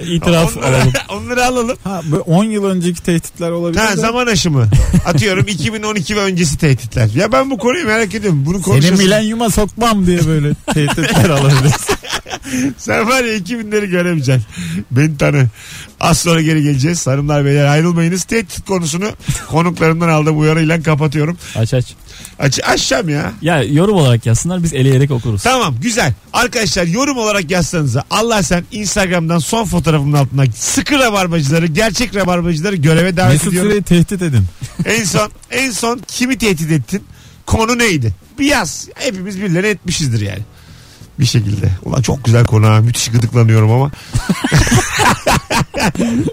Speaker 4: itiraf
Speaker 2: onları,
Speaker 4: alalım.
Speaker 2: onları alalım.
Speaker 3: Ha, böyle 10 yıl önceki tehditler olabilir.
Speaker 2: Ha,
Speaker 3: de.
Speaker 2: zaman aşımı. Atıyorum 2012 ve öncesi tehditler. Ya ben bu konuyu merak ediyorum. Bunu
Speaker 3: Seni
Speaker 2: konuşursun.
Speaker 3: milenyuma sokmam diye böyle tehditler alabiliriz.
Speaker 2: Sen var ya 2000'leri göremeyeceksin. Beni tanı. Az sonra geri geleceğiz. Hanımlar beyler ayrılmayınız. Tehdit konusunu konuklarımdan aldığım uyarıyla kapatıyorum.
Speaker 4: Aç aç.
Speaker 2: Aç, açacağım ya.
Speaker 4: Ya yorum olarak yazsınlar biz eleyerek okuruz.
Speaker 2: Tamam güzel. Arkadaşlar yorum olarak yazsanıza. Allah sen Instagram'dan son fotoğrafımın altına sıkı rabarbacıları, gerçek rabarbacıları göreve davet
Speaker 3: Mesut
Speaker 2: ediyorum.
Speaker 3: Süreyi tehdit edin.
Speaker 2: En son en son kimi tehdit ettin? Konu neydi? Bir yaz. Hepimiz birileri etmişizdir yani. Bir şekilde. Ulan çok güzel konu ha. Müthiş gıdıklanıyorum ama.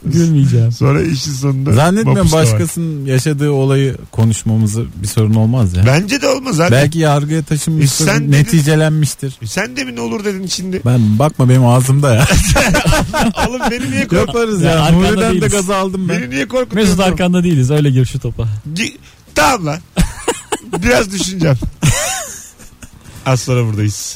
Speaker 3: Gülmeyeceğim.
Speaker 2: Sonra işin sonunda.
Speaker 3: Zannetmiyorum
Speaker 2: mapusta var.
Speaker 3: başkasının yaşadığı olayı konuşmamızı bir sorun olmaz ya.
Speaker 2: Bence de olmaz zaten.
Speaker 3: Belki yargıya taşınmıştır,
Speaker 2: E sen dedin-
Speaker 3: neticelenmiştir.
Speaker 2: Sen de mi ne olur dedin şimdi?
Speaker 3: Ben bakma benim ağzımda ya.
Speaker 2: Oğlum beni niye kork
Speaker 3: Yaparız
Speaker 4: Ya
Speaker 3: ya.
Speaker 4: arkanda
Speaker 3: Nuri'den de
Speaker 4: değiliz.
Speaker 3: gaz aldım ben.
Speaker 2: beni niye korkutuyorsun?
Speaker 4: Mesut arkanda değiliz öyle gir şu topa.
Speaker 2: Gi- Tamam lan. Biraz düşüneceğim. Az sonra buradayız.